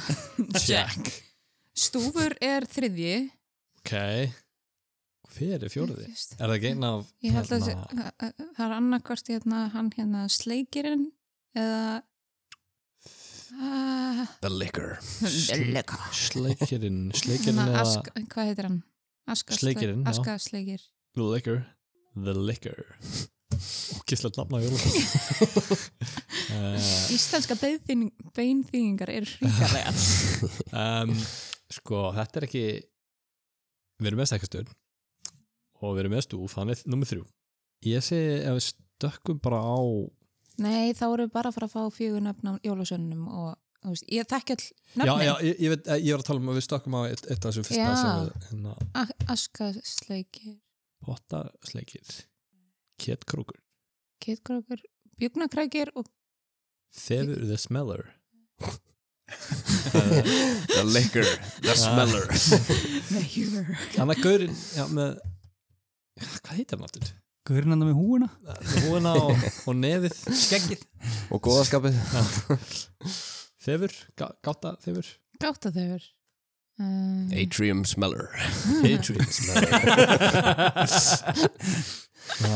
Check Stúfur er þriðji. Ok Hver er fjóruði? Fyrst. Er það ekki einn af Ég held að hérna, þessi- að- að- það er annarkvart hérna, hann hérna sleikirinn eða... Uh, The liquor. Leleka. Sleikirinn Sleikirinn Hérna, eða ask, hvað heitir hann? Aska, Sleikirinn, já. Aska sleikir. The Liquor The Liquor Ógislega nafn á jólaköku uh, Íslenska beinþýðing- beinþýðingar eru hríkarlega. Eh, um, Sko, þetta er ekki Við erum með stekkastur og við erum með stúf, hann er nummið þrjú ég segi að við stökkum bara á Nei, þá erum við bara að fara að fá fjögur nöfn á jólasönnum og þú veist, ég þekki all já, nöfnin já, ég, ég, veit, ég var að tala um að við stökkum á eitt, eitt af þessum fyrsta Já. sem við hérna, A- Askasleikir, pottasleikir kettkrókur, kittkrókur, bjögnakrækir og feður the smeller The liquor, the smeller meður. hann er Ah. gaurinn já, með, já, hvað heitir hann aftur? Gaurinn hann hérna með húuna? húna og, og nefið skeggið Og góðaskapið þefur, gá- gáta þefur Gáta þeir. Um, Atrium smeller Patreon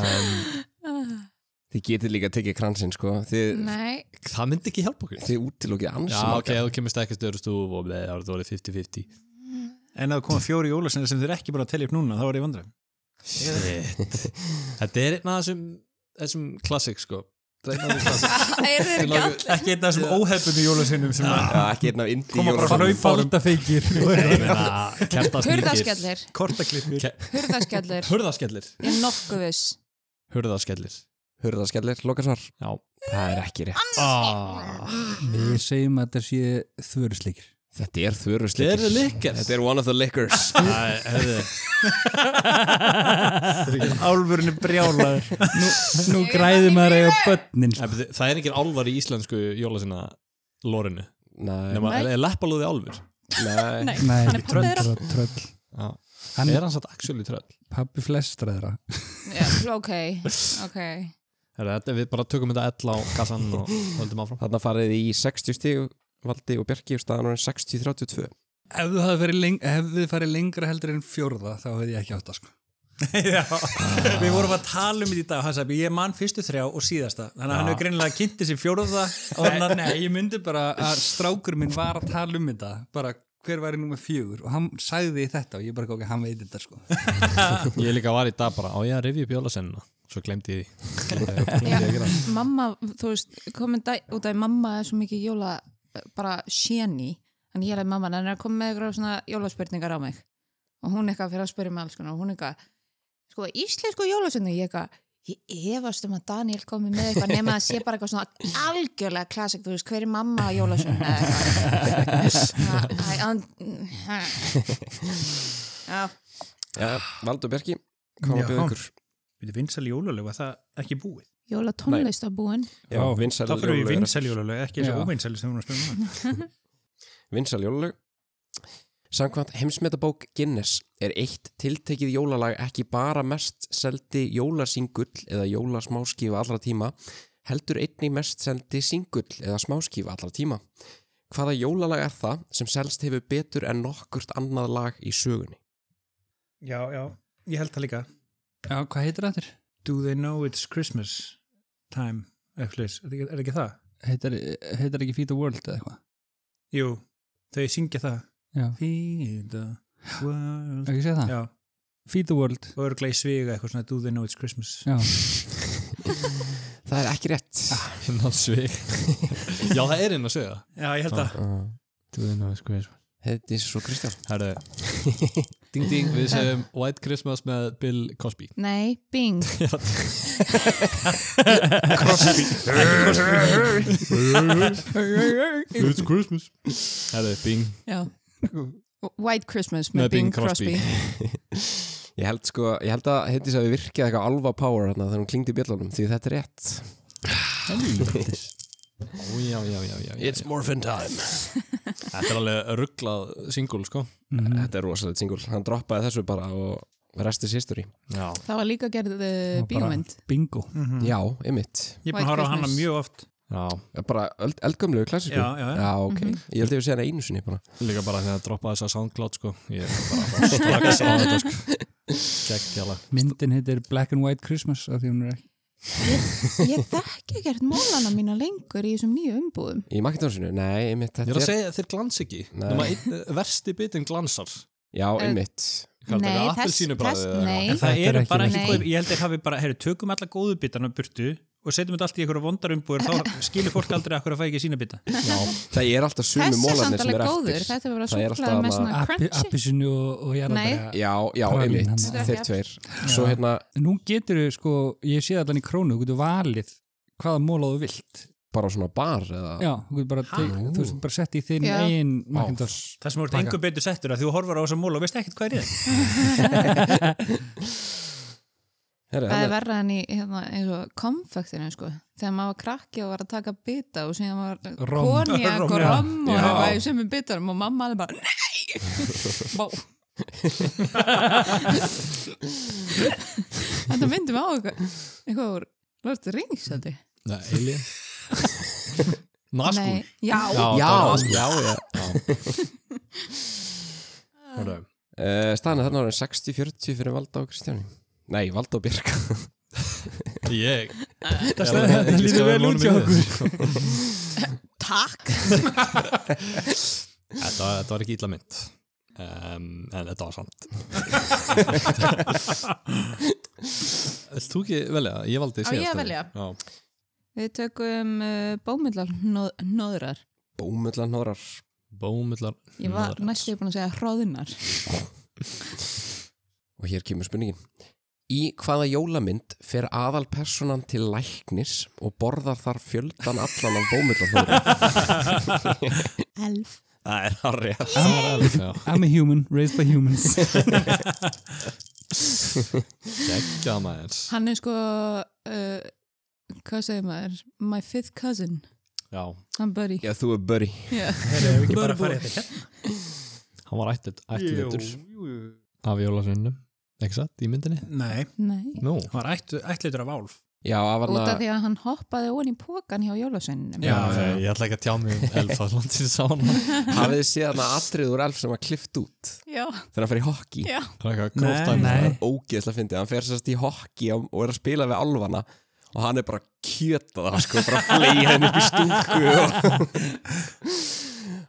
ah, Þið getið líka að tekið kransinn sko Þið, nei, það myndi ekki hjálpa okkur þið útilókið já, ansam ok, þú kemur stekkast öðru stúf og bleið, það voru 50-50 En að koma fjóri jólasennar sem þeir eru ekki bara að telja upp núna, þá er ég vandræðum. shit þetta er einn af þessum þessum klassik sko Þetta er einn af þessum klassik. það er þeir ekki allir. Ekki einn af þessum óhefnum jólasennum sem að Já, ekki einn af indi Koma bara jólasönnum. Faldafeykir Ég meina, kertasníkir. Hurðaskellir, kortaklippur. Ke- hurðaskellir, hurðaskellir ég er nokkuð viss. hurðaskellir Hurðaskellir, lokasvar já Það er ekki rétt Við segjum að þetta sé þvörusleikir Þetta er Þeir þvörusleikir eru líkir Þetta er one of the liquors Álfurinn er brjálaður. Nú, nú græði maður að eiga börnin sko. Það er engin álvar í íslensku jólasina lorinu Nei, Nefna, er, er leppalúði álfur? nei Nei, Nei, hann er pappa þeirra. tröll, tröll. Já. Hann er er hann satt actually tröll? pappi flestra þeirra Já, ok, ok. Herra, þetta, við bara tökum þetta ell á kassan og höldum áfram Þarna farið þið í 60 stíg Valdi og Bjarki og staðan orðin 60-32 Ef þú hafði farið, leng hefði farið lengra heldur en fjórða þá hefði ég ekki átt að sko Já. Við vorum að tala um þetta í dag og hann sagði, ég man fyrstu þrjá og síðasta. Þannig að hann hefur greinilega kynnti sér fjóruða og hann nei, ég myndi bara að strákur minn var að tala um þetta bara hver væri nummer fjögur og hann sagði þetta og ég bara góði hann veit þetta sko Ég líka var í dag bara, á ég að rifja upp jólasennina Svo glemdi ég því Já, mamma, þú veist, komin dæ, út af því mamma er svo mikið jóla, eh, bara sjeni, en ég er að mamma, hann er að koma með eitthvað svona jólaspurningar á mig og hún eitthvað fyrir að spyrja mig alls konar og hún eitthvað, sko, íslensku jólasöndu, ég eitthvað, ég efast um að Daniel komi með eitthvað nema að sé bara eitthvað svona algjörlega klassik, þú veist, hver er mamma á jólasöndu eða eitthvað. Svona, æ, and- ha. Já, Já, Valdi og Bjarki, hvað var að Já. bjóða ykkur? Við erum vinsæli jólalög, var það ekki búið? jólatónlist á búinn Já, Já, vinsæl Þá fyrir við jólalög vinsæli jólalög, ekki þessu Já. óvinsæli sem við vorum að spila núna. Vinsæl jólalög Samkvæmt heimsmetabók Guinness er eitt tiltekið jólalag ekki bara mest seldi jólasingull eða jólasmáskifa allra tíma heldur einnig mest seldi singull eða smáskifa allra tíma. Hvaða jólalag er það sem selst hefur betur en nokkurt annað lag í sögunni? Já, já, ég held það líka. Já, hvað heitir þetta? Do they know it's Christmas time? Eitthvað, er það ekki- er ekki það? Heitir, heitir ekki Feed the World eða eitthvað? Jú, þau syngja það. Já. Feed the world. Ekki segja það? Já, Feed the World og örgla í sviga eitthvað svona Do they know it's Christmas? Já, Það er ekki rétt. Innan svig Já, það er inn að segja Já, ég held það. Uh, Do they know it's Christmas? Heiði svo Kristján. Herðu, ding ding, við segjum White Christmas með Bill Cosby Nei, bing It's Christmas Herðu, bing Já. White Christmas Með með Bing Bing Crosby, Ég held sko, ég held að Heiði svo að við virkjaði eitthvað alva power hérna þegar hún klingdi í bjöllunum því þetta er rétt. Ó, já, já, já, já, já. morphin time. Þetta er alveg rugglað singul, sko Mhm. Þetta er rosalegt singul, hann droppaði þessu bara og restis history Já Það var líka gerð uh, var bara- bíómynd bingo Mhm. Mhm. Já, einmitt Ég er White búin að horfa á hana Christmas. mjög oft. Já, Bara eld, eldgömlegu klassísku Já, Sko, já, já. ok, Mhm. ég held ég að segja hana einu sinni bara líka bara þegar að droppa þess að SoundCloud, sko Ég er bara strax á þetta, sko Gekkjala Myndin heitir Black and White Christmas af því hún er ekki Ég þekki ekkert mólana mína lengur í þessum nýju umbúðum Í Macintoshinu, nei, einmitt Ég þetta er að segja að þeir glans ekki Nei. Nema einn- eh, Versti bitin glansar Já, Eh. einmitt Hvað er þetta, Nei, appelsínubræðið þess- eða nei. Það Þetta er eru ekki bara vinsælt. ekki, ég held þeir hafi bara, heyrðu, tökum alla góðu bitana burtu og og setjum þetta allt í einhverja vondarumbúður þá skilur fólk aldrei akkur að fæ ekki sína bita Það er alltaf sumu Þessi er mólarnir samt sem alveg er góður, eftir þetta er bara Það er súklaði alltaf með svona Appi- crunchy. Appelsínu og, og jarðabæra Já, já, Pralin hann. einmitt, er Þetta þeir ekki tveir Svo hérna, Nú getur þau sko, ég sé allan í krónu þú getur valið hvaða móla þú vilt bara svona bar eða Já, þú getur bara, teg, Ha? þú veist, bara sett í þinn Já. eigin Vá. Macintosh það sem voru engu betur settur að þú horfar á þessa múla og veist ekkert hvað er í þeim Herri, Það er hann er- verra enn í hérna, eins og konfektinu sko. Þegar maður var krakki og var að taka bita og síðan var Romm. konjak og Romm, já. rom og Já. það var í sömu bitunum og mamma alveg bara Nei! Vá. Þetta myndum á eitthvað eitthvað úr Lord of the Rings þetta. Nei, Alien Naskúl Nei, já, Já. það var Nazgul. já, já. Herra, Eh, Staðan er þarna orðin 60-40 fyrir Valda og Kristjáni Nei, Valda og Björk Ég það slæði þetta lítur vel út hjá okkur takk Þetta, var- þetta var ekki illa mynd um, En þetta var samt Vilt þú ekki velja? Ég Á, valdi síðast ég að velja? Já, Við tökum uh, bómullar nóðrar Bómullan hórar bómullar Ég var hnoðrar. næstu búin að segja hróðunar Og hér kemur spurningin Í hvaða jólamynd fer aðal personan til læknis og borðar þar fjöldan allan af bómullan hórar Elf Það er harri Það var alveg, já. I'm a human, raised by humans Gekkjað maður Hann er sko uh, hvað segir maður? My fifth cousin Já, Hann buddy Já, þú er Börri Já. Heyrðu, ef ekki bara farið þetta hérna? hann var ætlit, ætlitur Jú, jú. af jólasvinnum Ekki satt í myndinni? nei, Nei Nú, hann var ætt- ættleitur af álf Já, af Út af hana því að hann hoppaði ón í pókan hjá jólasveininum Já, ég, ég ætla ekki að tjá mig um elfa Landið sá hann hafið þið séð hana atrið úr elf sem var klift út já, þegar hann fer í hokki já. Það er eitthvað Nei, gróft það dæmi. nei. er ógeðslega fyndið, hann fer sérst í hokki og og er að spila við alvana og hann er bara að kjöta það sko, bara að fleia henni upp í stúku og...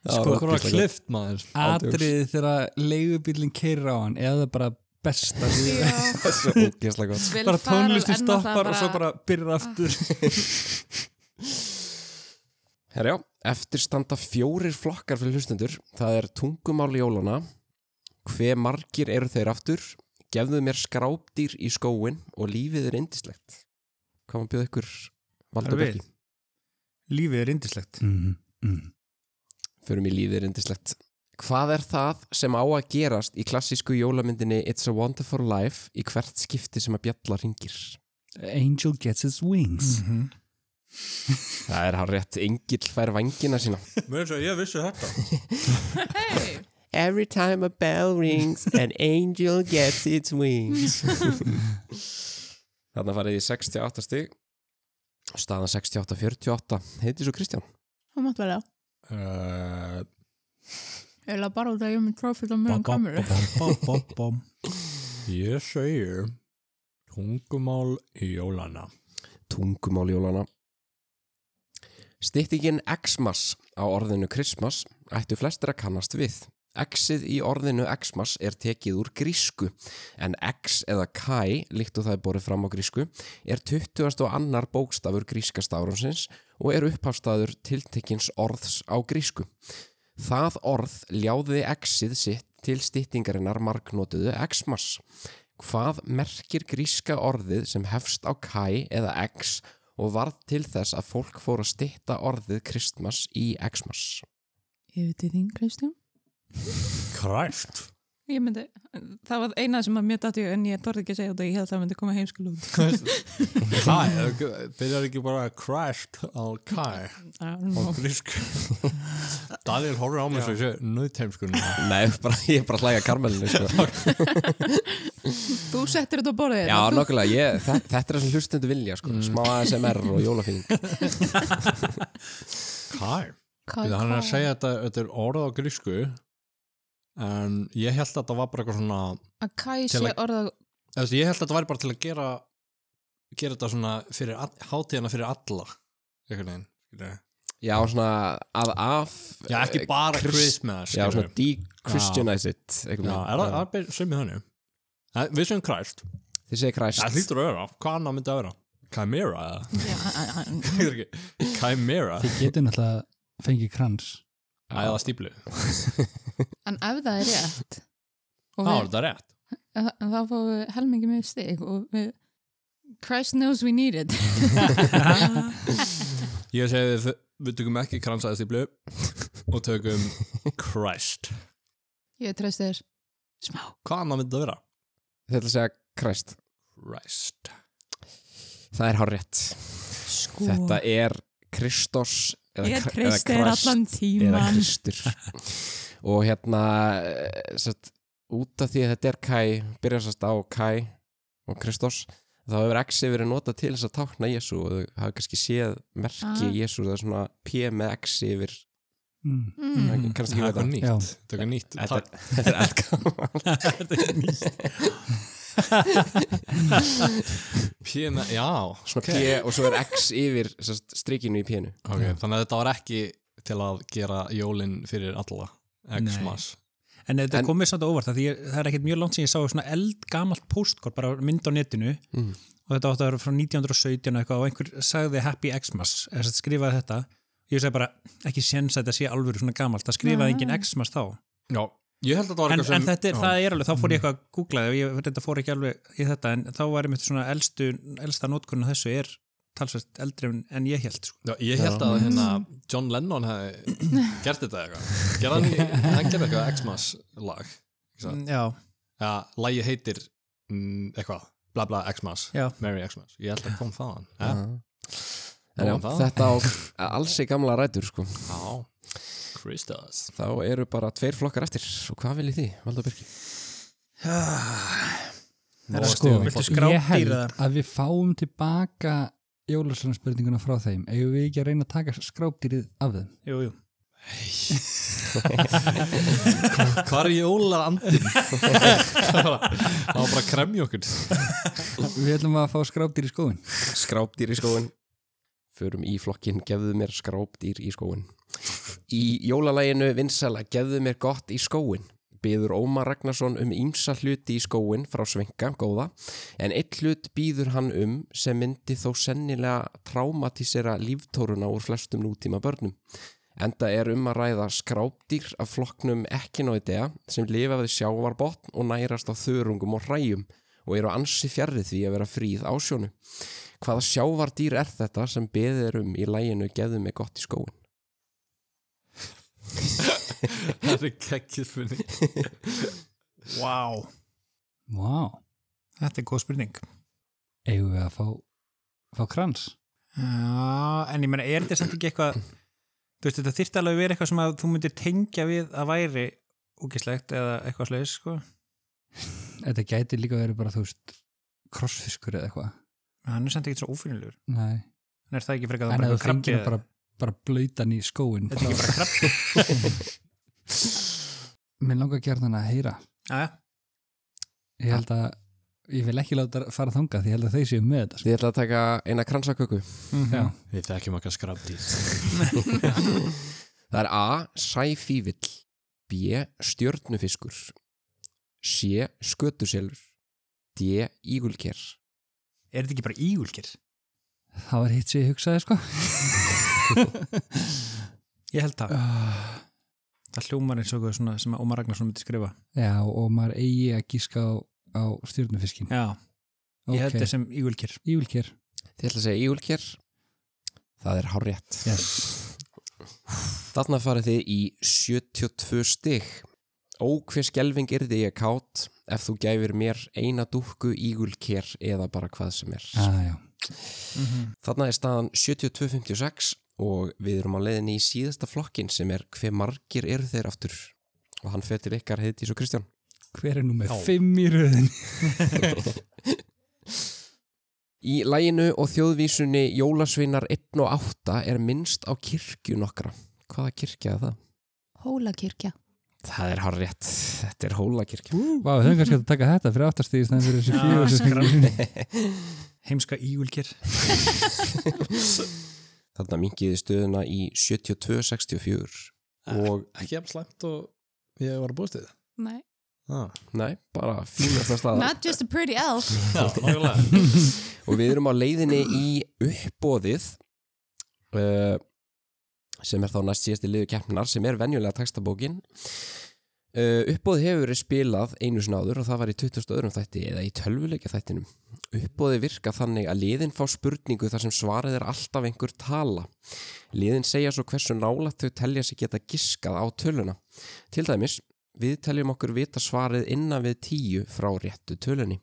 Sko, hvað var klift maður? Atriðið þegar leigubílinn keirir á hann eða bara besta sem- þessu ógeðslega gott Vil bara Farrell tónlisti enn á það stoppar og svo bara byrjar aftur Herjá, eftir standa fjórir flokkar fyrir hlustendur, það er tungumál jólana hve margir eru þeir aftur gefðu mér skrápdýr í skóin og lífið er indislegt hvað maður bjóð ykkur Það er valda við. byrki lífið er indislegt förum í lífið er indislegt. Hvað er það sem á að gerast í klassísku jólamyndinni It's a Wonderful Life í hvert skipti sem að bjalla ringir? Angel gets his wings Mhm. Það er hann rétt, engill fær vangina sína. Mér svo, ég vissi þetta hey, Every time a bell rings an angel gets its wings. Þarna farið í 68 stig. Staðan 68-48. Heiti svo Kristján. Hún mátt vel á Uh, Ég laði bara út að ég er með trófitt á bom, mjög bom, kameru bom. Bom, bom, bom Ég segir tungumál jólana. tungumál jólana. Styttingin Xmas á orðinu Christmas ættu flestir að kannast við. Xið í orðinu Xmas er tekið úr grísku en X eða Kai, líkt og það er borið fram á grísku, er 20. og annar bókstafur gríska stafrónsins og er upphafstafur tiltekins orðs á grísku. Það orð ljáði Xið sitt til styttingarinnar marknotuðu Xmas. Hvað merkir gríska orðið sem hefst á kæ eða x og varð til þess að fólk fór að stitta orðið kristmas í xmas? Ég veit þín, Kristján Kræft. Ég myndi, það var eina sem að mér dætti en ég dorði ekki að segja þetta, ég held að það myndi koma heimskulum Kæ, byrjar ekki bara kræft á kæ. Á grísk. Daniel horfir á mig svo ég sé nöðteimskunni. Nei, bara, ég er bara að hlæga karmelinu, sko. Þú settir þetta á borðið hérna. Já, þetta, nokkulega, ég, þe- þetta er sem hlustundu vilja, sko. Smá ASMR og jólafíning. Kæ. þú- Hvað- Þannig hann er að hvað- segja þetta, þetta er orð á grísku en ég held að þetta var bara eitthvað svona að kæ til sé að- orða eða, þú veist, ég held að þetta væri bara til að gera gera þetta svona fyrir all- hátíðina fyrir alla einhvern veginn skilurðu. Já, svona að af... eh, Já, ekki bara Christmas Já, svona skilurðu. de-Christianize it. Já, er það- það er sem í þannig Eh, Við sem kræst, Þið segir það kræst. hlýtur að vera hvað annað myndi að vera Chimera Já, Chimera Þið getur náttúrulega fengið krans. Æða stíplu en ef það er rétt og Það var við, þetta rétt þá þá fáum við helmingi með stig og við Christ knows we need it Ég segi þið, við tökum ekki kransaði stíplu og tökum Christ ég treyst þér smá Hvað annað myndi það vera? Þetta að segja Christ. Christ Það er hár rétt. sko Þetta er Kristos eða ég Kr- eða treyst þér Christ allan eða tíman Kristur. og hérna, eh, sett, út af því að þetta er Kai, byrjar sérst á Kai og Kristos, þá hefur X-ið verið notað til þess að tákna Jésu og þau hafa kannski séð merki Ah. Jésu, það er svona P með X yfir, Mm. mm. mm. kannski Það við er eitthvað það. Já. nýtt Tökum nýtt Þetta takk. er- þetta er eldgammal. Pína, já Svona P og svo er X yfir sérst, strikinu í P-nu. Ok, þannig að þetta var ekki til að gera jólin fyrir alla Nei. X-mas En þetta En- en, komið samt á óvart að ég, það er ekkert mjög langt sem ég sá svona eldgamalt postkort bara mynd á netinu Mm. og þetta átti að vera frá 1917 og eitthvað og einhver sagði Happy Xmas eða sem sagt skrifaði þetta ég sagði bara ekki séns að þetta sé alvöru svona gamalt það skrifaði Nei. engin Xmas þá Já, ég held að þetta var en, eitthvað sem en þetta er, já. það er alveg, þá fór ég eitthvað að googla og ég þetta fór ekki alveg í þetta en þá var ég mitt svona elstu, elsta notkunna þessu er talsvægt eldri en- en ég held sko. Já, ég held að hérna, John Lennon hefði gert þetta eitthvað. Gerði hann, í- hann gerði eitthvað X-Mas lag. Exakt. já, Já, lagi heitir mm, eitthvað, bla bla X-Mas, Já. Merry X-Mas. Ég held að kom þaðan. Ja. En Nóg já, um það. þetta á alls í gamla rætur sko. Já, Christus. Þá eru bara tveir flokkar eftir og hvað viljið þið, Valda Birki? það Nóg er að sko, stigum í viltu fólki. Ég skrátýr held að við fáum tilbaka jólarslanarspurninguna frá þeim. Eigum við ekki að reyna að taka skrápdýrið af þeim? jú, jú. Hvað er jólar andin? það var það var bara að kremja okkur. Við ætlum að fá skrápdýr í skóin. Skrápdýr í skóin Förum í flokkin, gefðu mér skrápdýr í skóin Í jólalæginu vinsala, gefðu mér gott í skóin Byður Ómar Ragnarsson um ímsa hluti í skóin frá Svenka, góða en eitt hlut býður hann um sem myndi þó sennilega trámatísera líftóruna úr flestum nútíma börnum Enda er um að ræða skrápdýr af flokknum ekkinóidea sem lifa við sjávarbotn og nærast á þörungum og hræjum og eru ansi fjarrið því að vera fríð á sjónu. Hvaða sjávardýr er þetta sem beðið er um í læginu Geðu mig gott í skóin? það er kekkið fyrir. wow. Vá, wow. þetta er góð spurning eigum við að fá, fá krans? Já, en ég meina, er þetta samt ekki eitthvað þú veist, þetta þyrfti alveg að vera eitthvað sem að þú myndir tengja við að væri úkislegt eða eitthvað slegis, sko Þetta gæti líka að vera bara, þú veist, krossfiskur eða eitthvað. en hann er samt ekki svo ófinnilegur Nei. en er það ekki frekar En það ef bara þú fengir krabbi bara, bara blöytan í skóin. þetta er ekki bara krabbi Mér langar að gera þannig að heyra. Jæja, Ég held að, ég vil ekki láta fara þangað því ég held að þeir séu með þetta. Sko. Þið ætla að taka eina kransaköku. Já. Við þekkjum okkar skrafdýr. Það er A. Sæfívill B. Stjörnufiskur C. Skötuselur D. Ígulker er þetta ekki bara ígulkir? Það var hitt sem ég hugsaði, sko. Ég held það, Ah. það hljómar eins og eitthvað svona sem að Ómar Ragnarsson myndi skrifa Já, og maður eigi að gíska á, á stjórnufiskin. Já, ég held þetta sem ígulkir Ég vil kér. Þið ætla að segja ígulker Það er hárétt Yes. Þarna farið þið í 72 stig. Ó, hver skelving yrði ég kátt ef þú gæfir mér eina dúkku ígulker eða bara hvað sem er. Ah, já. Þarna er staðan 72.56 og við erum á leiðinni í síðasta flokkin sem er hver margir eru þeir aftur og hann fyrir ykkar heiðtís og Kristján. Hver er nú með Já. fimm í röðin? Í læginu og þjóðvísunni Jólasveinar 1 og 8 er minnst á kirkju nokkra. Hvaða kirkja er það? hólakirkja Það er hár rétt. Þetta er hólakirkja. Vá, þau hefum kannski átt að taka þetta fyrir áttastíðis þannig fyrir þessi fjögur sem fengið. Heimska ígulkir Þarna mingiði stöðuna í 72.64 og Ekki jafn slæmt og ég var að búist þið. Nei. Ah. nei, bara fínasta staða. not just a pretty elf Já, nákvæmlega. og við erum á leiðinni í uppbóðið uh, sem er þá næst síðasti liðu keppnar sem er venjulega textabókin uh, uppbóðið hefur verið spilað einu sinna áður og það var í 20. öðrum þætti eða í tölvuleika þættinum uppbóðið virka þannig að liðin fá spurningu þar sem svarið er alltaf einhver tala liðin segja svo hversu nálægt þau telja sig geta giskað á töluna til dæmis við teljum okkur vita svarið innan við tíu frá réttu tölunni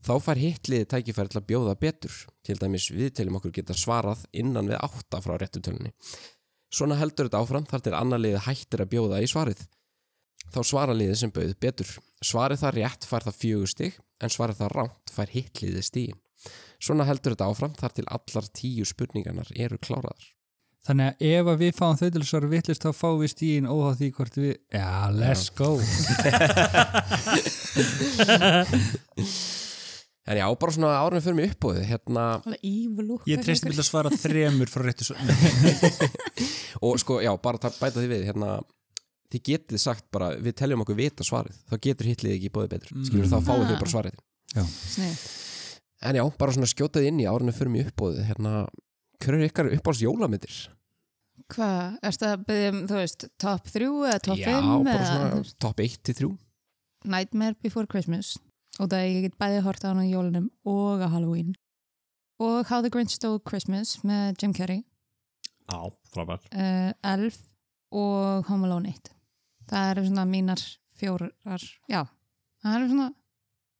Þá fær hitliði tækifæri til að bjóða betur, til dæmis við teljum okkur geta svarað innan við átta frá réttutölunni. Svona heldur þetta áfram þar til annar liði hættir að bjóða í svarið. Þá svara liði sem bauð betur. Svarið það rétt fær það fjögur stig, en svarið það rámt fær hitliði stigin. Svona heldur þetta áfram þar til allar tíu spurningarnar eru kláraðar. Þannig að ef að við fáum þau til svara vittlust þá fáum við stíin óháð því hvort við Já, let's go En já, bara svona árið fyrir mig uppbúið, hérna, Ég treysti mér til að svara þremur frá réttu svo og sko, já, bara ta- bæta því við, hérna, þið getið sagt bara, við teljum okkur vita svarið, þá getur hitliði ekki bóðið betur, skilur þá fáið þau bara svarið. Snið. En já, bara svona skjótaði inn í árinu fyrir mig uppbóðið, hérna, hver eru ykkar uppáhalds jólamyndir? Hvað, erstu að byggja um, þú veist, top 3 eða top já, 5 bara eða svona þú veist, top 1 til 3. Nightmare Before Christmas og það ég get bæði horta á hann á jólunum og á Halloween og How the Grinch Stole Christmas með Jim Carrey Á, frábær uh, Elf og Home Alone 1 það eru svona mínar fjórar já, það eru svona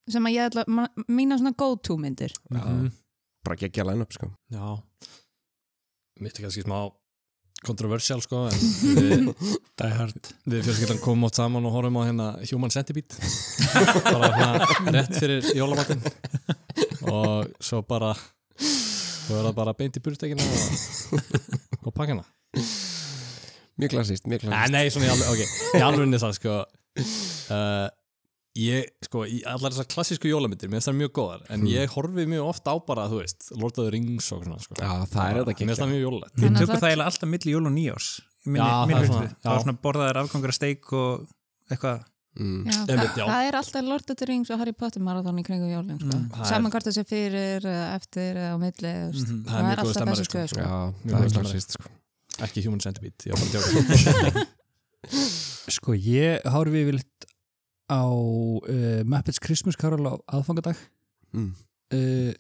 sem að ég ætla, ma- mínar svona go to myndir Mhm. Bara geggja line up, sko. Já Mitt er kannski smá kontroversial sko en við, Die hard við fjölskyldan komum átt saman og horfum á hérna Human Centipede bara hérna rétt fyrir jólamatinn og svo bara svo er það bara beint í burtekina og, og pakkana Mjög klassist, mjög Nei, klassist. nei, svona í alveg, ok, í alvegni það sko uh, Ég, sko, í allar þessar klassísku jólamyndir Mér finnst það mjög góðar, en ég horfi mjög oft á bara, þú veist, Lord of the Rings og svona, sko Já, það er þetta Mér finnst geggja. það mjög jólalegt Við Þannig að tökum það- það eiginlega alltaf milli jól og nýjárs Minni, Já, minni það er það, svona- svona, já. það var svona borðaðir afgangur að steik og eitthvað Mm. Já, Einmitt, það, já. það er alltaf Lord of the Rings og Harry Potter marathon í kringum jólun sko. Mm, það er- saman hvort það sé fyrir, eh, eftir eða á milli þú veist. Mhm. Það er mjög góð alltaf stemmari, þessi sko. skoði Já, sko. það mjög er klassist, sko. Ekki Human Centipede, ég var bara að djóka Sko, ég horfi yfirleitt á uh, Muppets Christmas Carol á aðfangadag Mm. uh,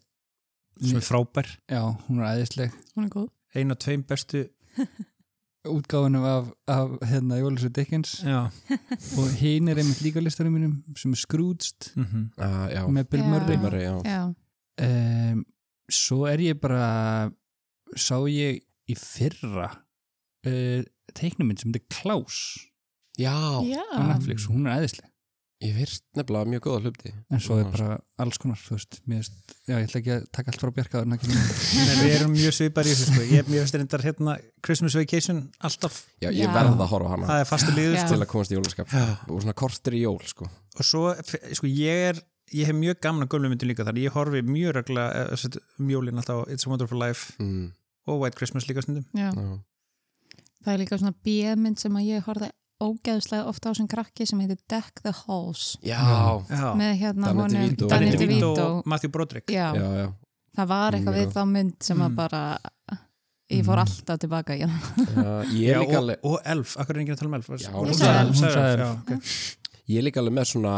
sem er frábær Já, hún er æðisleg hún er góð Ein og tveim bestu útgáfunum af, af hérna Jólusur Dickens Já, og hinn er einmitt líka á listanum mínum sem er Scrooged mhm. Uh, já, með Bill Já. Murray Murray, já. já, um, svo er ég bara sá ég í fyrra uh, teiknumind sem þetta er Klaus Já, já. á Netflix og hún er æðisleg ég virt nefnilega mjög góða hluti. en svo er Já. bara alls konar þú veist, mér veist, já, ég ætla ekki að taka allt frá Bjarka áður en ekki mér Nei, Við erum mjög svipar í þessu sko Ég er mjög styrndar hérna Christmas Vacation alltaf, Já, ég Já. verð að horfa á hana það er fastu liður Já. til að komast í jólaskap. Og svona kortir í jól, sko. og svo, f- sko, ég er ég hef mjög gaman að gömlu myndin líka þannig ég horfi mjög regla eh, mjólin um alltaf á It's a Wonderful Life Mm, og White Christmas líka stundum já. já. það er líka svona bíðmynd sem að ég horfði ógeðslega ofta á sem krakki sem heitir Deck the Halls já, Já, með hérna Danny honum DeVito. Danny Danny Danny DeVito DeVito og Matthew Broderick já, já, já. það var eitthvað Mjög við þá mynd sem að Mm. bara ég fór alltaf tilbaka í hana Já, Ég Já, er líka og, alveg... og Elf, akkur er enginn að tala um Elf Já, Hún hún sagði sagði- hún Elf. Hún sagði sagði Elf, Elf. já, ok. Ég er líka alveg með svona,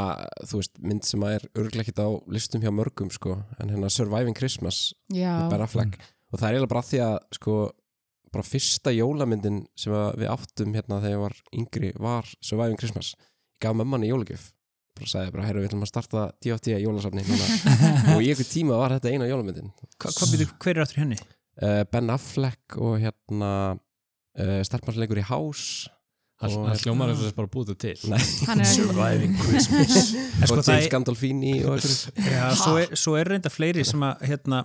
þú veist, mynd sem að er örglega ekkert á listum hjá mörgum, sko, en hérna Surviving Christmas já, með Ben Affleck og það er eiginlega bara af því að, sko, bara fyrsta jólamyndin sem að við áttum hérna þegar ég var yngri var Surviving Christmas. Ég gaf mömmanni jólagjöf, bara sagði bara, herru, við ætlum að starta D.O.T. jólasafni núna og í einhver tíma var þetta eina jólamyndin. Hva- hvað býtur, hver er áttur henni? Uh, ben Affleck og hérna uh, stelparsleikur í House Það Og- hérna, það hljómar eins og þess bara búið þetta til hann er Christmas en sko og það James er, Gandolfini og einhverju. já, svo er, svo er reynda fleiri sem að, hérna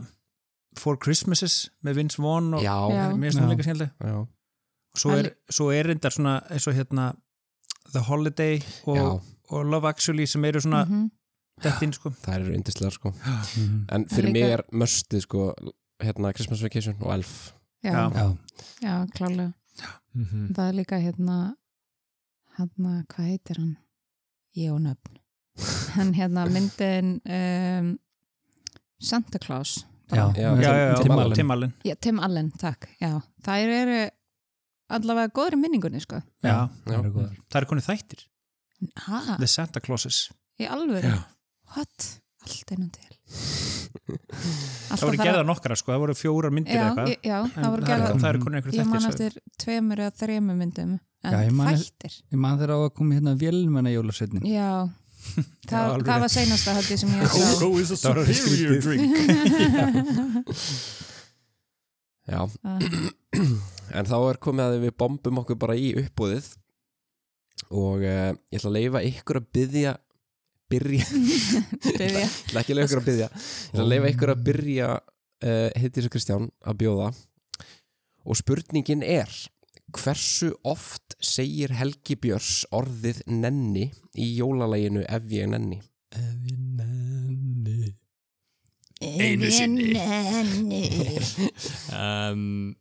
Four Christmases með Vince Vaughn og Já, Já. mér finnst það Já. líka skemmtileg já. svo er, svo er reyndar svona eins og hérna The Holiday já, og, og Love Actually sem eru svona Mhm. dett inn sko það eru yndislega sko Mhm. en fyrir líka- mig er möstið sko hérna Christmas Vacation og Elf já, Já. já, já, klálega Mhm. það er líka hérna hérna, hvað heitir hann? Ég og nöfn hann hérna myndin um, Santa Claus bara. Já. já, já, já, Tim já, Allen. Timmalen Já, Tim Allen, takk. Já, þær eru allavega góður í minningunni, sko. Já, það eru góðar. það er konið þættir Hæ? The Santa Clauses Í alvöru? What? Allt einum til. Alltaf Það voru þarf að- gerða nokkra sko, það voru fjórar myndir eða Já, eitthvað ég- já, En það voru er- gerða. Það er konið einhverju Ég man þættir sagði. eftir tveimur eða þreimur myndum, en Já, ég man eftir- þættir. Ég man þeirra á að koma hérna vélmenna jólasveitnin. Já, Já, það, alveg það var rétt. seinasta held ég sem ég sá. is a Það var alveg skrítið. drink Já, Ah. en þá er komið að við bombum okkur bara í uppbúðið og uh, ég ætla að leifa ykkur að byggja byrja, Byrja. ég ætla ekki að leifa ykkur að byggja ég ætla að leifa ykkur að byrja uh, heiti þessu Kristján að bjóða og spurningin er hversu oft segir Helgi Björns orðið nenni í jólalæginu ef ég nenni Evinenni Einu sinni. um,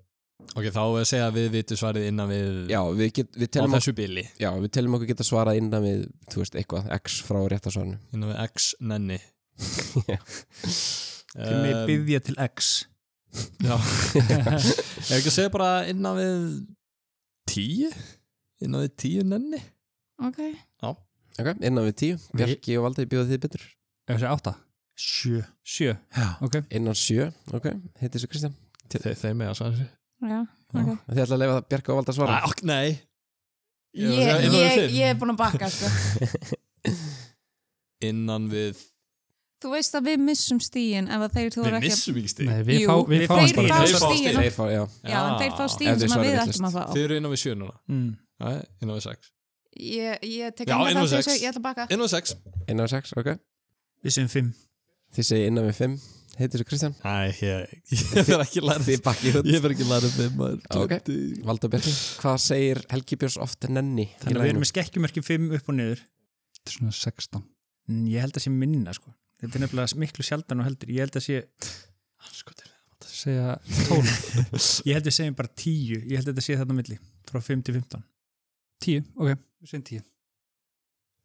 Ok, þá er að segja að við vitum svarið innan við Já, við, get, við, á telum, okkur, þessu bili já, við telum okkur geta svarað innan við, þú veist, eitthvað, x frá réttasvarnu innan við X nenni Já. Þið með um, byggja til X Já Ef ekki að segja bara innan við tíu innan við tíu nenni Ok, Ok, innan við tíu, Bjarki og Valdi bjóða þið betur Ef þessi átta? Sjö Sjö. Já, Ok. Innan sjö, ok, heiti þessu Kristján Þe, Þeir með að svara þessu já, Já. ok. Þið ætla að leifa það Bjarki og Valdi að svara Ah, ok, Nei Ég var að segja Ég, innan við ég, fimm. ég er búin að bakka, sko. innan við Þú veist að við missum stíin ef að þeir þú Við ekki að... missum ekki stig Nei, við, Jú, fá, við við fáum þeir bara fá Þeir fá stíin. Þeir fá, já, Já, en þeir fá Ef stíin þeir sem að svara við vitlaust. ættum að fá. Þið eru innan við sjö núna mm. Nei, innan við sex Ég, ég tek Já, engan innan þátt í við þessu, sex. ég ætla að bakka. Innan við sex innan við sex, ok Við sem fimm Þið segi innan við fimm, heiti þessu Kristján Æ, ég, ég fer ekki læra Þið bakki hund Ég fer ekki læra þeim maður Ok. Valdi og Bjarki, hvað segir Helgi Björns oft nenni? í Þannig að við laginu? erum með skekkjumörki fimm upp og niður Þetta er svona 16. Mm, Ég held að sé minna sko Þetta er nefnilega miklu sjaldan og heldur Ég held að sé, Anskotir Segja, ég held að segja bara tíu Ég held að þetta sé þetta á milli Frá fimm til fimmtán tíu, ok, við segjum tíu.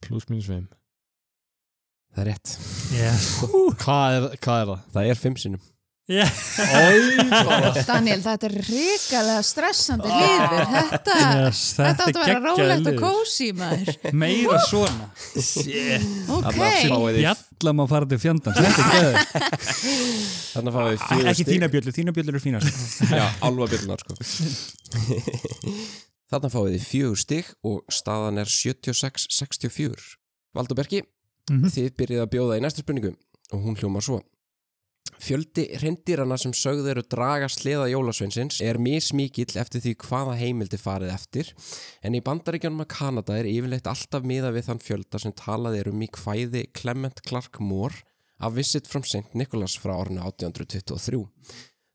Plus mínus 5 Það er rétt yes. Hvað er, hvað er það? Það er fimm sinnum Daniel, þetta er ríkalega stressandi lífur. Þetta, Yes, þetta átt að vera geggjað rólegt og liður. kósi, maður. Meira svona. Ok, Þannig að fáið þið- Jalla má fara til fjandan. Þetta er gæður. þarna fáið þið fjögur Ekki þína bjöllu, þína bjöllu eru fínast Já, alva björnar sko Þarna fáið þið fjögur stig og staðan er 76-64 Valdur Berki, Mhm. þið byrjið að bjóða í næstu spurningu og hún hljómar svo Fjöldi hreindýrana sem sögð eru draga sleða jólasveinsins er mismíkill eftir því hvaða heimildi farið eftir en í bandaríkjónum að Kanada er yfirleitt alltaf miða við þann fjölda sem talað er um í kvæði Clement Clark Moore af Visit from St. Nicholas frá ornu 1823.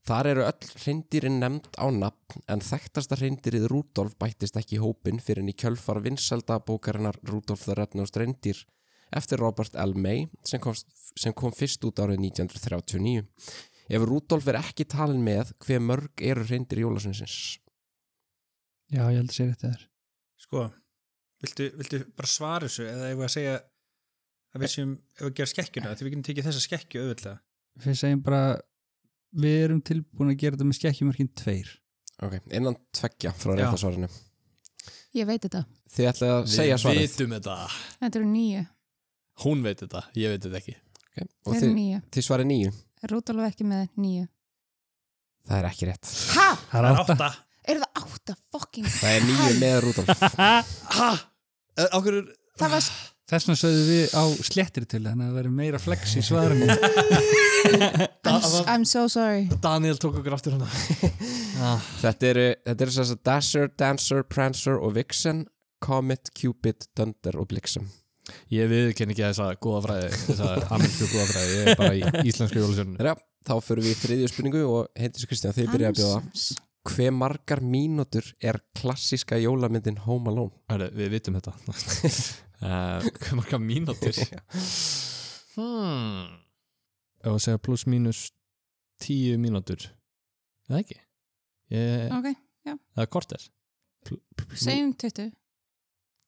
Þar eru öll hreindýrin nefnd á nafn en þekktasta hreindýrið Rúdolf bættist ekki í hópin fyrir en í kjölfar vinseldabókarinnar Rúdolf the Rednosed Reindeer eftir Robert L. May sem kom, sem kom fyrst út árið 1939. Ef Rúdolf er ekki talin með, hver mörg eru hreindir Jólasvinsins? Já, ég held að segja þetta þér. Sko, viltu, viltu bara svara þessu eða ef við að segja að við séum, ef við gerum skekkjuna því við getum tekið þessa skekkju auðvitað Við segjum bara, við erum tilbúin að gera þetta með skekkjumörkin tveir. Ok, innan tveggja frá Já. réttasvarinu. ég veit þetta. Þið ætlaði að segja Við svarið. vitum þetta Þetta eru nýju. Hún veit þetta, ég veit þetta ekki Okay. Þetta Og eru þið, nýju. þið svarið nýju. Rúdolf ekki með nýju. Það er ekki rétt. Hæ? Það Eru það átta fucking... Það er nýju með Rúdolf. Hæ? Okkur er Það var... Þess vegna sögðum við á slettir til þannig að það verður meira flex í svarinu. I'm, s- I'm so sorry. Daniel tók okkur aftur hérna? hana Þetta eru, þetta eru sérst að Dasher, Dancer, Prancer og Vixen, Comet, Cupid, Dunder og Blixen. Ég viðkenn ekki þessa góða fræði Þessa amerísku góða fræði Ég er bara í íslensku jólusjónu Þeirra, þá förum við í þriðju spurningu og heitir svo Kristján, þið byrja að bjóða. Hamsons. Hve margar mínútur er klassíska jólamyndin Home Alone? Hæru, við vitum þetta uh, Hvað marga mínútur hmm. Ef að segja pluss mínus tíu mínútur Eða ekki ég, Ok, Eða korter Pl- pl- segjum 20.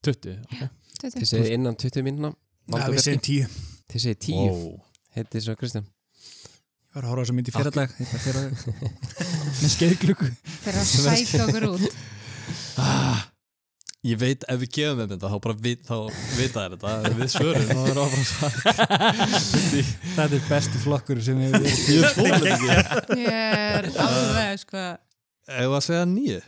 20 okay. 20. Þið segið innan 20 mínuna. Já, við segjum tíu Þið segið 10, wow. heitir svo Kristján. var að horfa á þess að myndi fyrir dag ég bara fyrir að með skeiðglöku fyrir að sækja okkur út Ah, Ég veit, ef við gefum þeim þetta, þá bara vit, þá vita þær þetta, ef við svörum, þá er það bara það. þetta er bestu flokkur sem hefur verið Ég fór þetta ekki. ég er alveg sko Ef að segja nýju,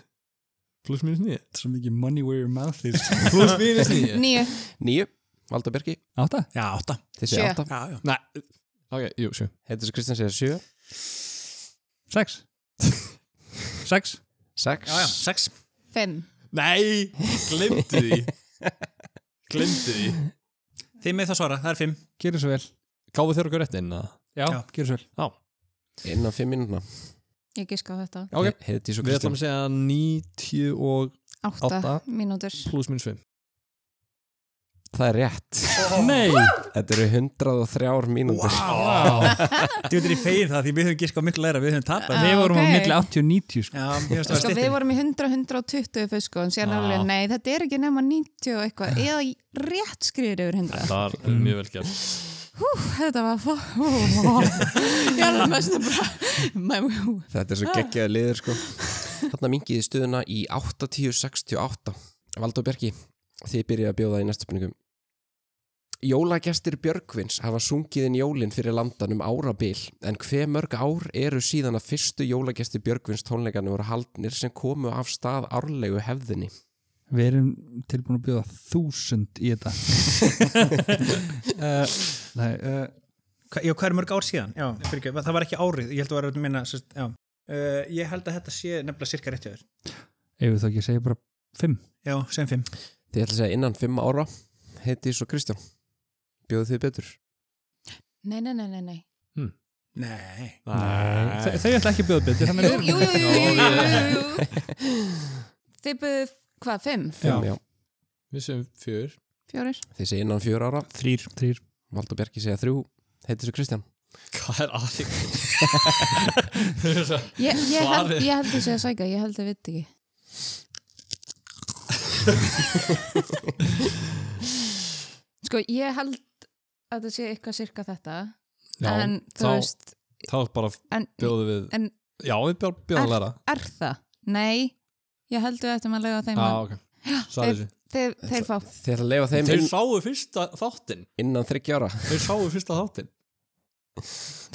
pluss mínus nýju. svo mikið money where your mouth is Pluss mínus nýju. nýju, Nýju, Valda Birki, átta? já, átta þessi Sjö. átta já, já. Nei, ok, jú, sjö. Heitur sem Kristján segir sjö, sex sex sex já, já, sex fimm Nei, glemdi því. Glemdi því. þið með það svara, það er fimm gerðu svo vel Gáðu þér okkur rétt inn að... já, Já. gerðu svo vel innan fimm mínúna ég giska á þetta, Ok, Heitur svo við ætlum Kristján að segja 90 og átta, Átta. mínútur pluss mínus 5. Það er rétt nei Þetta eru 103 mínútur wow. þú veitir ég fegin það því við höfum giskað miklu læra við höfum tapað við vorum á ok. milli 80 og 90 sko. já, mér finnst það Sko, við stittir vorum í 100-120 fyrst sko, en síðan Ah. Já. alveg, nei, þetta er ekki nema 90 og eitthvað, eða í- rétt skriður yfir 100. Það er mjög vel gert. Hú, þetta var fó... Hú, hú, ég er alveg mest að bara... Hú, Þetta er svo geggjaði liður sko Þarna mingiði stöðuna í 8068 Valdur Bjarki, þið byrjaði að bjóða í næstu spurningum Jólagestir Björgvins hafa sungiðin jólin fyrir landan um árabil en hve mörg ár eru síðan að fyrstu jólagestir Björgvins tónleikana voru haldnir sem komu af stað árlegu hefðinni við erum tilbúin að bjóða þúsund í þetta uh, nei uh, Hva- Já, hvað er mörg ár síðan? Já, fyrir ekki, það var ekki árið, ég held að vera að minna, sérst, já. Uh, ég held að þetta sé nefnilega cirka rétt hjá þér. ef við þá ekki segja bara fimm Já, sem fimm. Þið ætla að segja innan fimm ára heiti svo Kristján Bjóðu þið betur Nei, nei, nei, nei, nei. Nei. Þau, þau ætla ekki að bjóða betur Jú, þannig að við jú, jú, jú, jú, jú, jú, jú. Þið byrðu, hvað, fimm? Fimm, já. Við segjum fjör. Fjórir? Þið segja innan fjör ára þrýr, þrýr Valdur Bjarki segja þrjú heiti svo Kristján Hvað er aðeins? Ég, ég, held, Svarið. ég held þessi að sæka, ég held að við ekki. Sko, ég held að það sé eitthvað cirka þetta, en þú þá- veist, Þá bara en bjóðum við... En- Já, við bjóðum, bjóðum að læra. er það? Nei, ég held við ættum að lega þeim Já, að ok. Sæði þessu. þeir, þeir fá. Þið ætla að leifa þeim Þeir inn, sáu fyrsta þáttinn innan þryggja ára Þeir sáu fyrsta þáttinn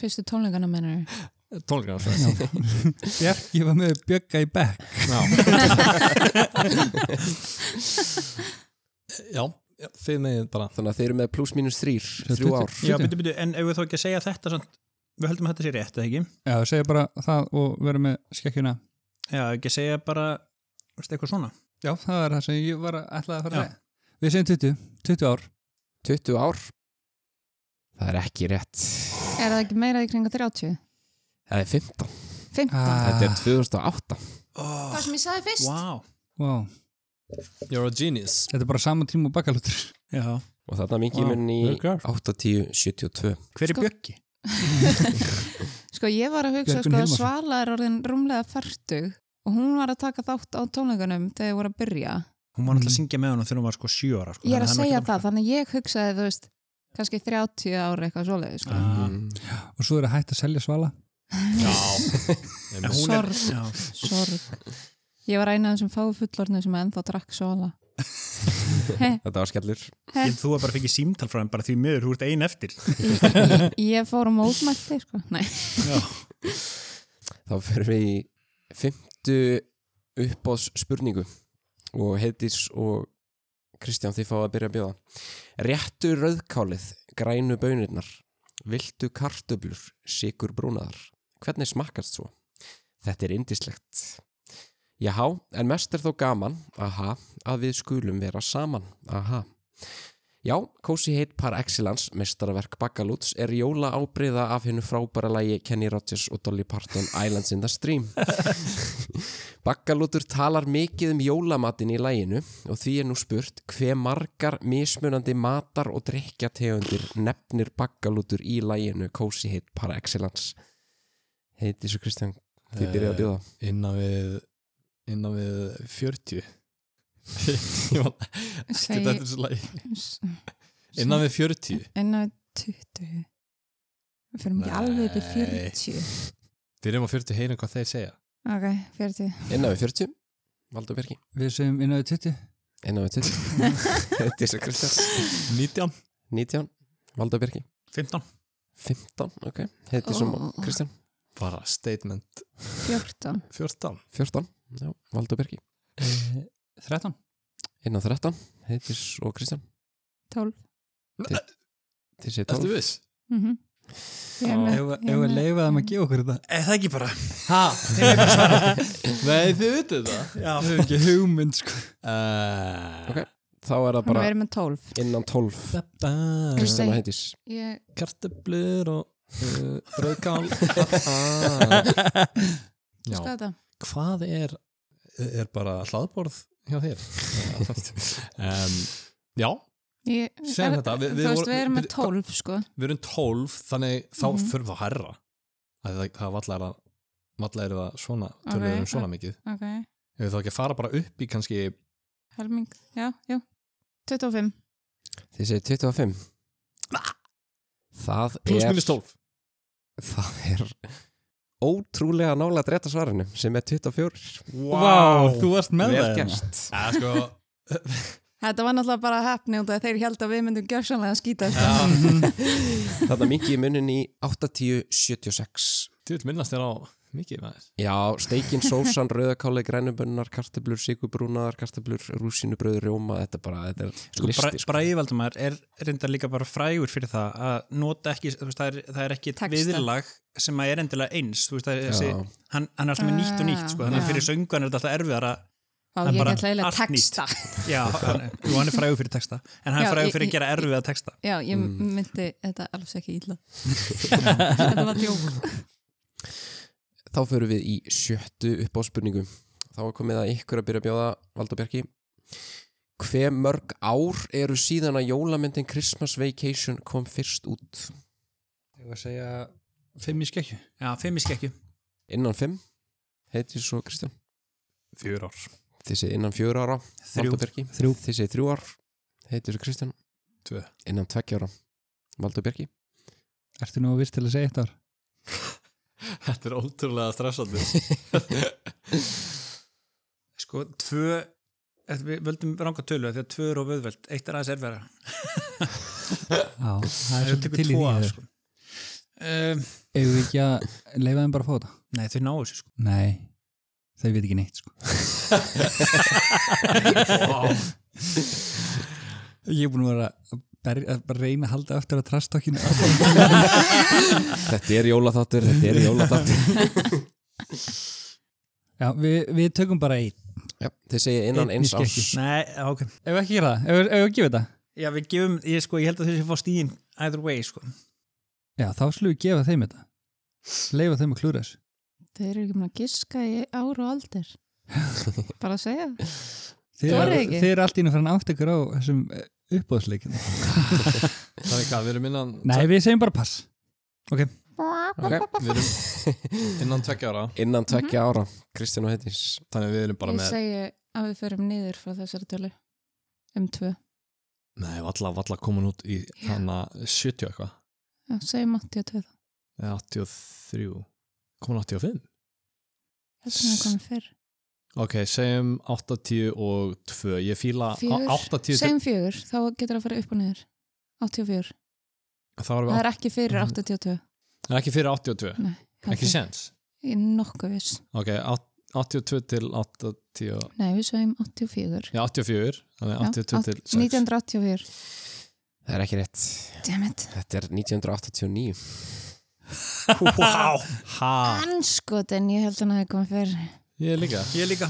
Fyrstu tónleikana mennur. Tónleikana Bjarki var með Bjögga í bekk Já, já, þið megin bara Þannig að þeir eru með pluss mínus þrýr, Sem þrjú tuttugu. ár. Já, byrju, byrju, en ef við þó ekki að segja þetta, sant, við höldum að þetta sé rétt, eða ekki? já, segja bara það og vera með skekkjuna Já, ekki að segja bara, veist, eitthvað svona. já, það var það sem ég var að ætla að fara Já. að segja. við segjum 20, 20 ár 20 ár. Það er ekki rétt. Er það ekki meira í kringa 30? Það er 15. 15? Ah. Þetta er 2008. Oh, Hvað sem ég sagði fyrst? wow. wow. You're a genius þetta er bara saman tíma og bakalútur Já. Og þarna mingi Vá, mun í mörg ár. 80-72. Hver er Sko- Bjöggi? Sko ég var að hugsa Björgvin sko að Hilmarsson. Svala er orðin rúmlega færtug og hún var að taka þátt á tónleikunum þegar þið voru að byrja. Hún var náttúrulega að syngja með honum þegar hún var sko sjö ára. Sko, Mhm. Ég er að þannig segja hann var ekki það, þannig að ég hugsaði þú veist, kannski 30 ára eitthvað svoleiði sko. Ah. Mm. og svo er að hægt að selja svala Já bara- En hún er- já. Sorg. Ég var eina af þessum fáu fullorðinu sem ennþá drakk Svala. Þetta var skellur. Ég held þú að bara fikk símtal frá hann bara því miður, þú ert ein eftir. Ég fór um ótmælti sko. Nei. Þá fyrir við í 50 uppáðs spurningu. Og Heiðís og Kristján þið fá að byrja að bjóða. Réttu rauðkálið, grænu bönirnar, viltu kartöblur, sigur brúnaðar. Hvernig smakkast svo? Þetta er indislegt. Jáhá, en mest er þó gaman, aha, að við skulum vera saman, aha. Já, Cozy Hate par excellence, mestarverk Bakalúts, er jóla ábreyða af hennu frábæra lægi Kenny Rogers og Dolly Parton Islands in the Stream. Bakalútur talar mikið um jólamatinn í læginu og því er nú spurt hve margar mismunandi matar og drikkjategundir nefnir Bakalútur í læginu Cozy Hate par excellence. Heiti svo Kristján, þið byrjuð að bjóða. Innan við Innan við 40 Ég man ekkert Segi- eftir þessu lagi Innan við 40 Innan við 20. Við fyrir ekki Nei. alveg upp í 40 Við erum á 40 heyrum hvað þeir segja. Ok, 40 Innan við 40, Valdur Birki Við sögum inn á því 20 Innan við 20 Dísa Kristjáns 19. 19, Valdur Birki 15 15, ok, heiti sem Ó. Kristján Bara statement 14 14. 14, já, Valdur Birki 13 Innan 13, heitir og Kristján 12 Þessi Ertu 12, viss? mm -hmm. Ég er með- Ef ég er við með- leifa þeim að gefa okkur þetta Eh, Það ekki bara Hæ? Nei, þið vitið það. Já. Það er ekki hugmynd sko Uh, Ok. þá er það Hann bara verið með 12 innan 12 Dabba, Kristján og heitis Ég kartöblur Eh, og uh, rauðkál. Ah. Já. skal þetta Hvað er, er bara hlaðborð hjá þér? um, já, Ég- Segðu er- þetta, við- við Þú veist, vorum- við erum með við- 12 sko við erum 12, þannig þá Mhm. förum við að herra. Það, það, það valla er að valla eru það svona, Ok. tölum við um svona mikið. Ok, Ef við þá ekki að fara bara upp í kannski helming, já, já 25 Þið segir 25 Það plus er minus 12. Það er ótrúlega nála að dreta svarinu sem er 24 Þú varst Vel með það hérna. gert Ja, sko, Þetta var náttúrulega bara hefni út af þeir held að við myndum gjörsanlega að skýta sko. Þarna mingi ég munin í 8076 Þú vil minnast þér á mikið maður. Já, steikin, sósan, rauðakáli, grænubönnar, kartöblur, síkubrúnaðar, kartöblur, rúsinubröður, rjóma, þetta bara, þetta er Sko, bra, listi. Sko. Bræðivaldumar er reyndar líka bara frægur fyrir það að nota ekki, þú veist, það er, það er ekki Texta. viðlag sem að er endilega eins, þú veist, það er þessi, Já. hann, hann er alltaf með nýtt og nýtt, sko, þannig Já. að fyrir söngan er þetta alltaf erfiðara, Ó, Það er ég bara ætla eiginlega að allt nýtt. texta já, hann, jú, hann er frægur fyrir texta, en hann Já, er ég- frægur fyrir ég- að gera erfiða texta. Já, ég Mm. myndi þetta alls ekki illa Þetta var djók Þá förum við í sjöttu upp á spurningu. Þá er komið að ykkur að byrja að bjóða, Valdur Bjarki. Hve mörg ár eru síðan að jólamyndin Christmas Vacation kom fyrst út? Ég var að segja 5 í skekju Já, fimm í skekju. Innan fimm, heitir svo Kristján. Fjör ár. Þið segir innan fjör ára, Þrjú. Valdur Bjarki. Þrjú. Þið segir þrjú ár, heitir svo Kristján. Tvö. Innan tveggja ára, Valdur Bjarki. Ertu nú að viss til að segja eitt ár? Þetta er ótrúlega stressandi. Sko, tvö, eh, við völdum ranga tölu því að tvö eru og vöðveld, eitt er aðeins erfiðara. Já, það er Það er svolítið til í tvo því af, hér. sko. Um, Ef við ekki að leifa þeim bara að fá þetta? nei, þau náu þessu, sko. Nei, þau veit ekki neitt sko Ég er búin að vera að, berja, að bara reyna að halda aftur að trastokkinu Þetta er jólaþáttur, þetta er jólaþáttur. Já, við, við tökum bara eitt Já, þið segir innan Einn í eins árs. skekju. Nei, já, ok. Ef ekki gera það, ef, ef við gefum þetta Já, við gefum, ég, sko, ég held að þau sem fá stíðin either way, sko. Já, þá slúið gefa þeim þetta Leifa þeim að klúra þessu Þeir eru ekki mér að giska í ár og aldur Bara að segja það. Þeir, Þorið eru- ekki. þeir eru allt í einu farin átt ykkur á þessum eh, uppbóðsleikin Þannig hvað, við erum innan, Nei, við segjum bara pass Ok, við erum innan tveggja ára. Innan tveggja ára, Kristján og Heiðís. Þannig að við erum bara Ég með, segi að við förum niður frá þessari tölu um tvö nei, valla, valla komin út í Já. hana 70 og eitthvað. Já, segjum 82 þá Eða 83. Komin 85? Þetta er komið fyrr Ok, segjum 82. Ég fíla á- Fjögur. 80 til, Segjum fjögur, þá getur það að fara upp og niður 84, þá erum það við, er ekki fyrir 82 á- ekki fyrir 82. Nei, Mhm. Ekki séns. Ég er nokkuð viss Ok, á- 82 til 80, Nei, við segjum 84 já 84, þannig 82 til 6. 1984 Það er ekki rétt. Damn it Þetta er 1989. Vá! Ha, Anskotin, ég held hann að það komið fyrr ég líka. Ég líka.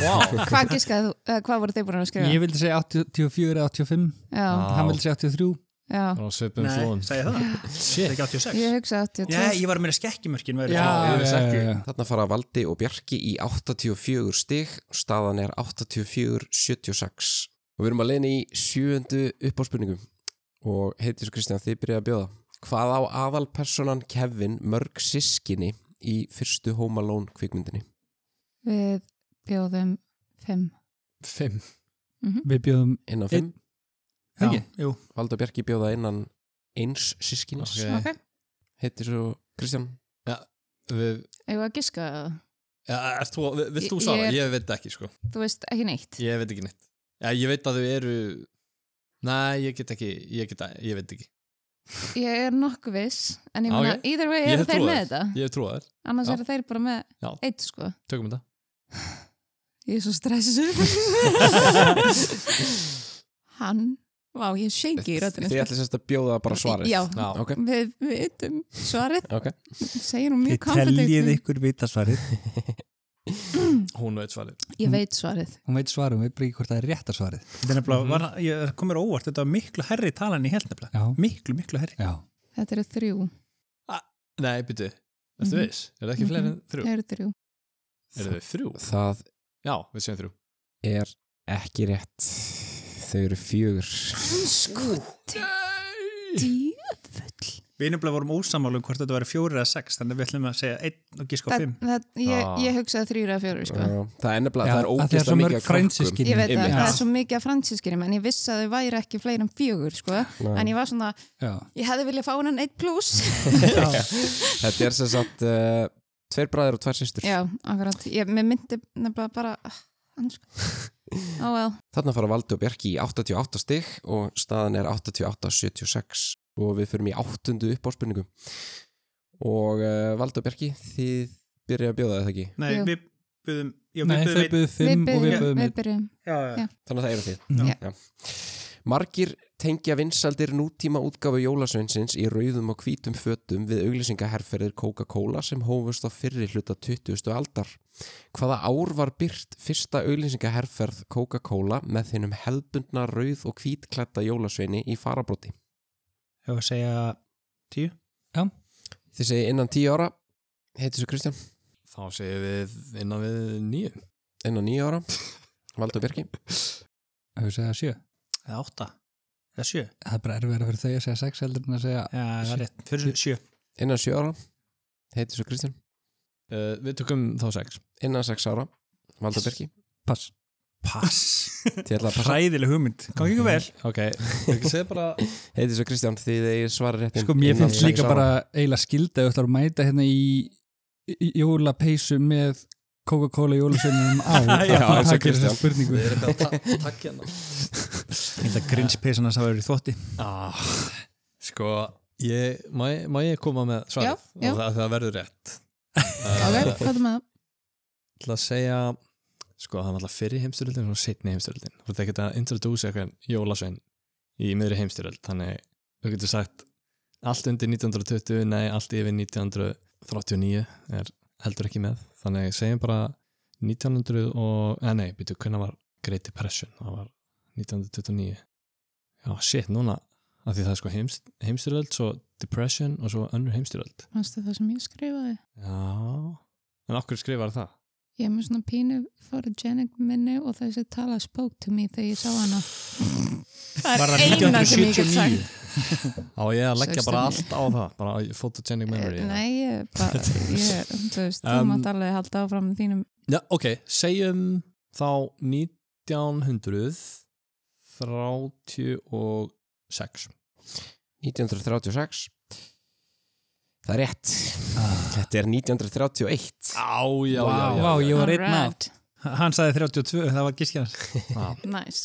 Wow. Hvað giskaði þú, eða hvað voru þeir búin að skrifa? Ég vildi segja 84 eða 85 Já, Á. Hann vildi segja 83 já Það var svipum flóðum. segi það. Það er ekki 86. Ég hugsa 82 Já, ég var að meira skekkjumörkin. væri Já, það. já, já, já. Þarna fara Valdi og Bjarki í 84 stig. Staðan er 84-76. Og við erum að leina í sjöundu uppáspurningu. Og Heiðís og Kristján, þið byrjaði að bjóða. Hvað á aðalpersonan Kevin mörg sískinni í fyrstu Home Alone kvikmyndinni? Við bjóðum Mhm. 5 Fimm. Við bjóðum Innan fimm. Ekki? Jú. Eh. Ah. Valdi og Bjarki bjóða innan eins sískinnis. Ok. Ok, heitir svo Kristján Við, Ég var að giska það. ja, ert þú, vilt þú svara? Ég- Ég, veit ekki sko, Þú veist, ekki neitt. ég veit ekki neitt ja, Ég veit að þau eru Nei, ég get ekki, ég, get, ég veit ekki Ég er nokkuð viss, en ég Já, meina, ok. either way Ég eru hef þeir trú á með þér. þetta. Ég trúa þér, Annars Já. eru þeir bara Já. með eitt, sko. tökum þetta Ég er svo stressuð. Hann, vá, ég shengi í röddinu. Þið ætli sérst að bjóða bara svarið Já. Já, Ok, Við við vitum svarið, ok segir hún Þið mjög teljið confidently. ykkur vitasvarið. hún veit svarið Ég veit svarið. Hún veit svarum, við brygjum hvort það er rétta svarið. Þetta er nefnilega, var, ég, það kom mér á óvart, þetta var miklu herri talan í held nefnilega. Já. Miklu, miklu herri. Já. Þetta eru þrjú. Nei, byrju, ertu Mhm. viss? Er það ekki fleiri en þrjú? Það eru þrjú. Eru þau þrjú? Það Já, við séum þrjú er ekki rétt Þau eru fjögur Sko, djöfull. Við nefnilega vorum ósamálu um hvort þetta var fjóri eða sex, þannig að við ætlum að segja einn og gíska á Það, fimm. það, ég, Ah. ég hugsaði þrýra að fjóru, sko. Já, Það er nefnilega, það er af því að ógæslega svo mörg mikið af frændsystkini. Ég veit að Einmitt. Ah. það Já. er svo mikið af fransískinum en ég vissi að þau væri ekki fleiri en fjögur sko. Nei. en ég var svona, Já. ég hefði viljað fá hennan eitt pluss Þetta er sem sagt uh, Tveir bræður og tvær systur Já, akkurat, ég, mér myndi nefnilega bara ah, sko. ansku Ó, vel, Þarna fara Valdi og Bjarki í 88 stig og staðan er 88-76 og við förum í áttundu upp á spurningu og uh, Valdi og Bjarki þið byrja að bjóða þetta ekki Nei, Jú. við byggum, já, Nei, við þau byggum einn. byggðu við fimm og við byrjum, byggðum við byrjum. Já, já, já. þannig að það eru þið Já. Margir tengja vinsaldir nútíma útgáfu jólasveinsins í rauðum og hvítum fötum við auglýsingaherferðir Coca-Cola sem hófust á fyrri hluta 20. aldar. Hvaða ár var byrt fyrsta auglýsingaherferð Coca-Cola með þinnum hefðbundna rauð og hvítklætta jólasveini í farabróti? Ég var að segja tíu. Þið segi innan tíu ára, heitir svo Kristján, Þá segjum við innan við nýju innan níu ára, Valdur Birki. Hefur við segjað sjö? Eða átta. Eða sjö. Það er bara erfið fyrir þau að segja sex heldur en að segja Já, það er rétt. Fyrir sjö. Innan sjö ára, heitir svo Kristján, uh, Við tökum þá sex innan sex ára, Valdur Birki. pass. Pass. Þið ætla að passa, Hræðileg hugmynd. Gangi ykkur vel. Ok, við segja bara heitir svo Kristján, þið eigi svara rétt. Sko, mér innan finnst sex líka ára. bara eiginlega skilda að þú ætlar að mæta hérna í í jólapeysu með Coca-Cola jólasveinum á Já, að eins og það gerir Kristján. þessa spurningu Við erum bara að takja hérna Þetta grinspesana sá eru í þvotti. ah, Sko, ég, má, má ég koma með Já, svarið? já. Og það, það verður rétt Eh, Ok, hvað er með það? Ég ætla að segja Sko, það var alltaf fyrir heimstyrjöldin og setni heimstyrjöldin Þú ert ekkert að introduce eitthvað jólasvein í miðri heimstyrjöld Þannig, þú getur sagt allt undir 1920, nei, allt yfir 1939 er heldur ekki með Þannig, segjum bara 1900 og, eh, nei, byrju, hvernig var Great Depression? Það var 1929 Já, shit, núna af því það er sko heimst, heimstyrjöld, svo depression og svo önnur heimstyrjöld Manstu það sem ég skrifaði? Já, en okkur skrifar það? Ég er með svona pínu photogenic minni og þessi tala spoke to me þegar ég sá hana Það Var er það eina sem ég get sagt 1979? Á ég að leggja Sagðist bara henni. allt á það bara á- photogenic memory eða? Eh, Nei, ég bara, ég, þú veist, þú Um, mátt alveg halda áfram með þínum Já, ok, segjum þá 1936 1936 Það er rétt Ah. Þetta er 1931 Á, já, Vá, já, vá, já, já. ég var einn af Alright. Hann sagði 32, það var gískjans. Nice.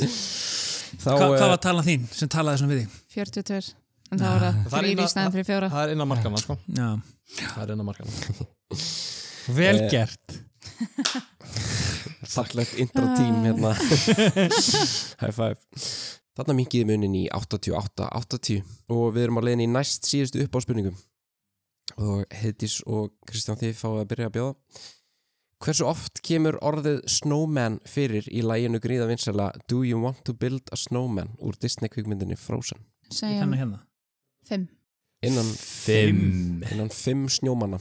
Þá, Hva, eh, hvað var talan þín sem talaði svona við þig? 42 en það var Það það er þrýr í eina- stæðan fyrir fjóra Það er innan markana, sko Já. Það er innan markana Vel Eh, gert þakklegt intro tím Ah. hérna High five Þarna mingiði munin í 88-80 og við erum á leiðin í næst síðustu upp á spurningum og Heiðdís og Kristján þið fáið að byrja að bjóða Hversu oft kemur orðið snowman fyrir í læginu gríða vinsæla Do you want to build a snowman úr Disney kvikmyndinni Frozen segjum Hérna, hérna. 5 innan, Fimm innan fimm snjómanna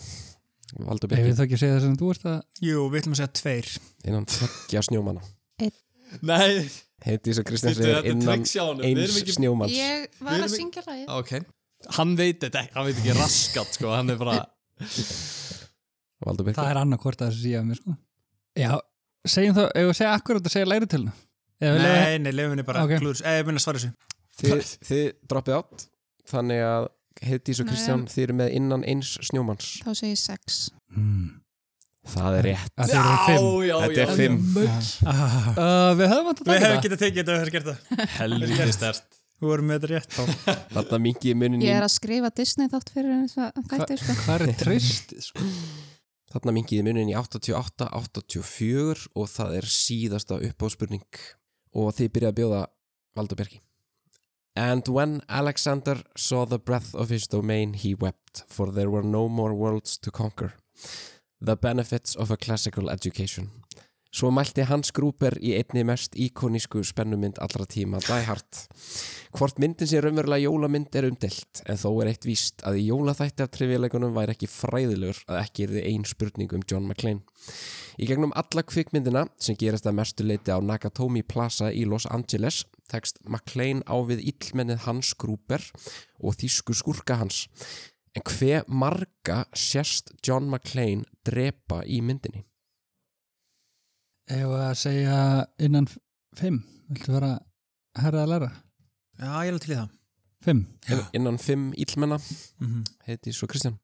Valdur Ef Birgir við þá ekki að segja það sem þú ert að Jú, við ætlum að segja tveir. innan tveggja snjómanna Nei, Heiðdís og Kristján þetta segir er innan tricksjánum Við eins erum ekki snjómanns ég Við var erum að í- syngja lagi Ok, hann veit þetta ekki Hann veit ekki raskat, sko Hann er bara Valdur Birgir það er annarkvort að þessu síða mér sko Já, segjum þá, ef við segja akkurat að segja læri til hana Nei, nei, lefum henni bara Ok. okay. klúður. Eh, ég minna svara þessu. þið, þið droppið átt þannig að Heiðdís og Nei, Kristján, en- þið eru með innan eins snjómanns Þá segi ég sex. mm. Hmm. Það er rétt að þeir eru fimm já, Þetta er fimm Ah, uh, við höfum að Við taka hefum það getað tekið þetta og hefur gert það Helviti stert Þú vorum með þetta rétt þá Þarna mingi í Ég er muninum að skrifa Disney þátt fyrir þess að þætti, sko. hvað er trist sko? Þarna mingi í muninum í 88, 84 og það er síðasta uppáspurning og þið byrjaði að bjóða Valdur Bjerki And when Alexander saw the breadth of his domain he wept for there were no more worlds to conquer The benefits of a classical education Svo mælti Hans Gruber í einni mest íkonísku spennumynd allra tíma, Die Hard. Hvort myndin sé raunverulega jólamynd er umdelt, en þó er eitt víst að í jólaþætti af trivialegunum væri ekki fræðilegur að ekki er þið ein spurning um John McClane. Í gegnum alla kvikmyndina, sem gerist að mestu leiti á Nakatomi Plaza í Los Angeles, tekst McClane á við illmennið Hans Gruber og þýsku skurka hans. En hve marga sérst John McClane drepa í myndinni? ef að segja innan f- fimm viltu vera herra að læra Já, ég er alveg til í það fimm Inn- innan fimm íllmenna mm heiti svo Kristján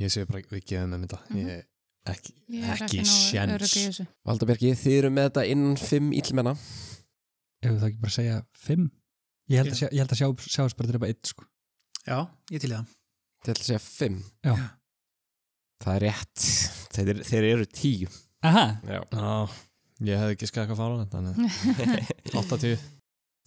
Ég sé bara, við gefum þeim þetta Ég- Ekki, Ég er ekki nógu sjens örugg í þessu. Valdabergi, þið eru með þetta innan fimm íllmenna ef við það ekki bara segja fimm ég held að, sjá, ég held að sjá, sjáast bara drepa eitt sko. Já, ég er til í það til að segja fimm Já. það er rétt þeir, eru- þeir eru tíu aha Já. Já, ég hefði ekki skakað að fara þannig 80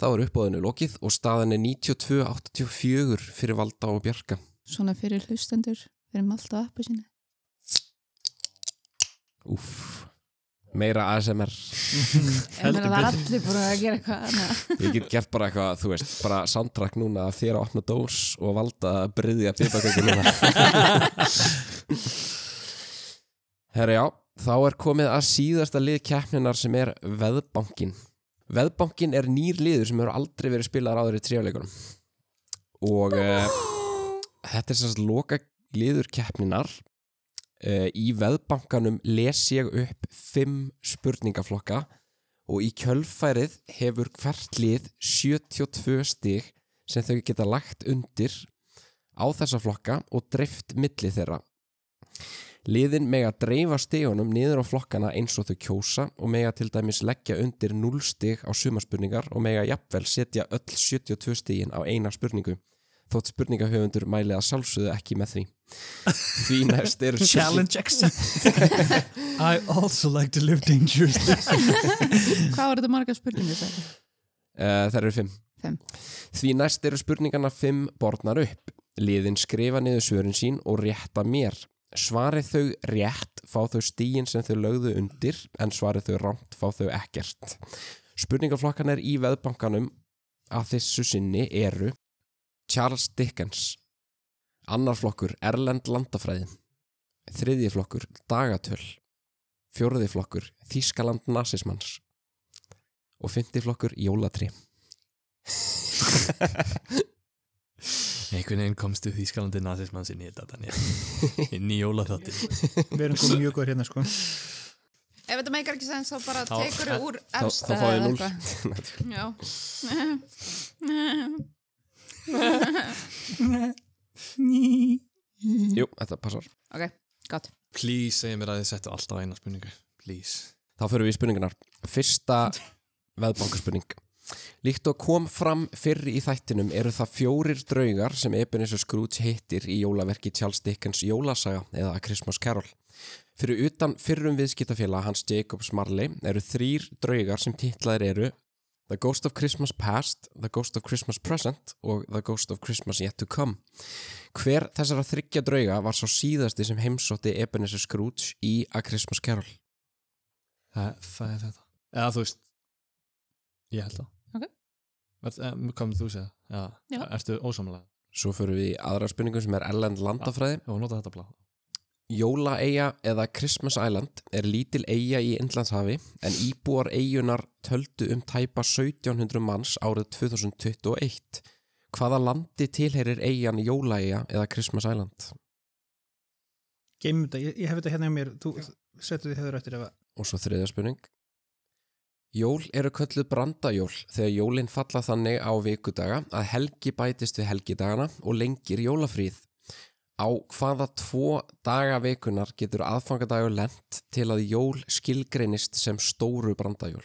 þá er uppáðinu lokið og staðan er 92-84 fyrir Valda og Bjarka Svona fyrir hlustendur, fyrir malta appi sinni. Úff meira ASMR En það var allir búin að gera eitthvað annað. ég get gert bara eitthvað, þú veist, bara soundtrack núna af þér að opna dós og Valda að bryðja pipaköku núna herra já, þá er komið að síðasta lið keppninar sem er veðbankin veðbankin er nýr liður sem hefur aldrei verið spilaðar áður í tríuleikunum og uh, þetta er sérst loka liður keppninar uh, í veðbankanum les ég upp fimm spurningaflokka og í kjölfærið hefur hvert lið 72 stig sem þau geta lagt undir á þessa flokka og dreift milli þeirra. Liðin mega dreifa stigunum niður á flokkana eins og þau kjósa og mega til dæmis leggja undir 0 stig á sumarspurningar og mega jafnvel setja öll 72 stigin á eina spurningu þótt spurningahöfundur mæli að sjálfsögðu ekki með því. Því næst eru Challenge accept I also like to live dangerously Hvað var þetta marga spurningar þetta? Uh, það eru fimm. Fimm. Því næst eru spurningarna fimm borðnar upp. Liðin skrifa niður svörin sín og rétta mér. Svarið þau rétt fá þau stíin sem þau lögðu undir en svarið þau rámt fá þau ekkert. Spurningaflokkan er í veðbankanum að þessu sinni eru Charles Dickens, annar flokkur Erlend landafræði, þriðji flokkur Dagatöl, fjórði flokkur Þískaland nasismans og fymti flokkur Jólatri. Einhvern veginn komstu Þýskalandi nazismann sinni í þetta Daniel Inn í jólaþátti Við erum komið mjög góður hérna sko Ef þetta meikar ekki sens, þá bara Þá- tekur þau úr þá efsta fáið eða núll. eitthvað. Já. Jú, þetta passar. ok, gott. Please, segja mér að þið settu alltaf eina spurningu Please Þá förum við í spurningunar. Fyrsta veðbankaspurning. Líkt og kom fram fyrr í þættinum eru það fjórir draugar sem Ebenezer Scrooge hittir í jólaverki Charles Dickens Jólasaga eða A Christmas Carol. Fyrir utan fyrrum viðskiptafélag hans Jacob Marley eru þrýr draugar sem titlaðir eru The Ghost of Christmas Past, The Ghost of Christmas Present og The Ghost of Christmas Yet to Come. Hver þessara þryggja drauga var sá síðasti sem heimsótti Ebenezer Scrooge í A Christmas Carol? Það, það er þetta Eða þú veist Ég held það Ok. Vart, em, Hvað með þú segja? Já. Já. Ertu ósamlega? Svo förum við í aðra spurningu sem er Erlend landafræði. Já, nota þetta blá Jólaeyja eða Christmas Island er lítil eyja í Indlandshafi en íbúar eyjunar töldu um tæpa 1700 manns árið 2021. Hvaða landi tilherir eyjan Jólaeyja eða Christmas Island? Geymum þetta, ég, ég hef þetta hérna hjá mér Þú setur því hefur eftir ef að Og svo þriðja spurning. Jól eru kölluð brandajól þegar jólin falla þannig á vikudaga að helgi bætist við helgidagana og lengir jólafríð. Á hvaða tvo daga vikunar getur aðfangadagur lent til að jól skilgreinist sem stóru brandajól?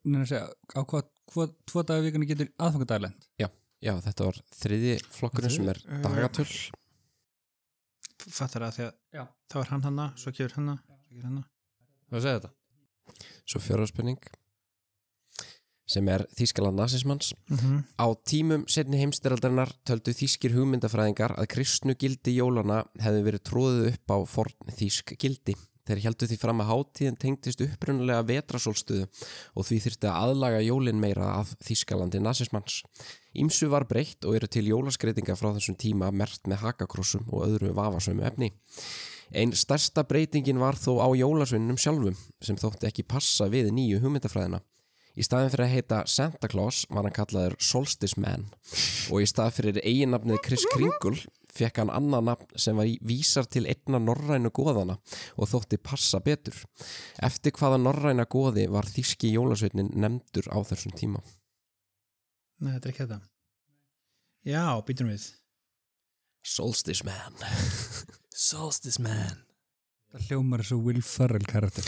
Nefnir að segja, á hvað, hvað tvo dagar vikuna getur aðfangadaglænd? Já, þetta var þriði flokkurinn sem er Þriði? dagatöl. fattar það því að Já. þá er hann hanna, svo kemur hanna, svo kemur hanna. Hvað segir þetta? Svo fjörðarspurning sem er Þískaland nasismanns. Mm -hmm. Á tímum setni heimstyraldarinnar töldu þýskir hugmyndafræðingar að kristnu gildi jólana hefði verið tróðið upp á forn þýsk gildi. Þeir heldu því fram að hátíðin tengdist upprunalega vetrasólstöðu og því þyrfti að aðlaga jólin meira að þýskalandi nasismanns. Ímsu var breytt og eru til jólaskreitinga frá þessum tíma mert með hakakrossum og öðru vafasömu efni. Einn stærsta breytingin var þó á jólasvinnum sjálfum sem þótti ekki passa við nýju hugmyndafræðina. Í staðin fyrir að heita Santa Claus var hann kallaður Solstice Man og í stað fyrir eiginnafnið Chris Kringle fekk hann annað nafn sem var í vísar til einna norrænu góðana og þótti passa betur. Eftir hvaða norræna góði var þíski jólasveitnin nefndur á þessum tíma? Nei, þetta er ekki þetta. Já, býtum við. Solstice Man. Solstice man Það hljómar svo Will Ferrell karakter.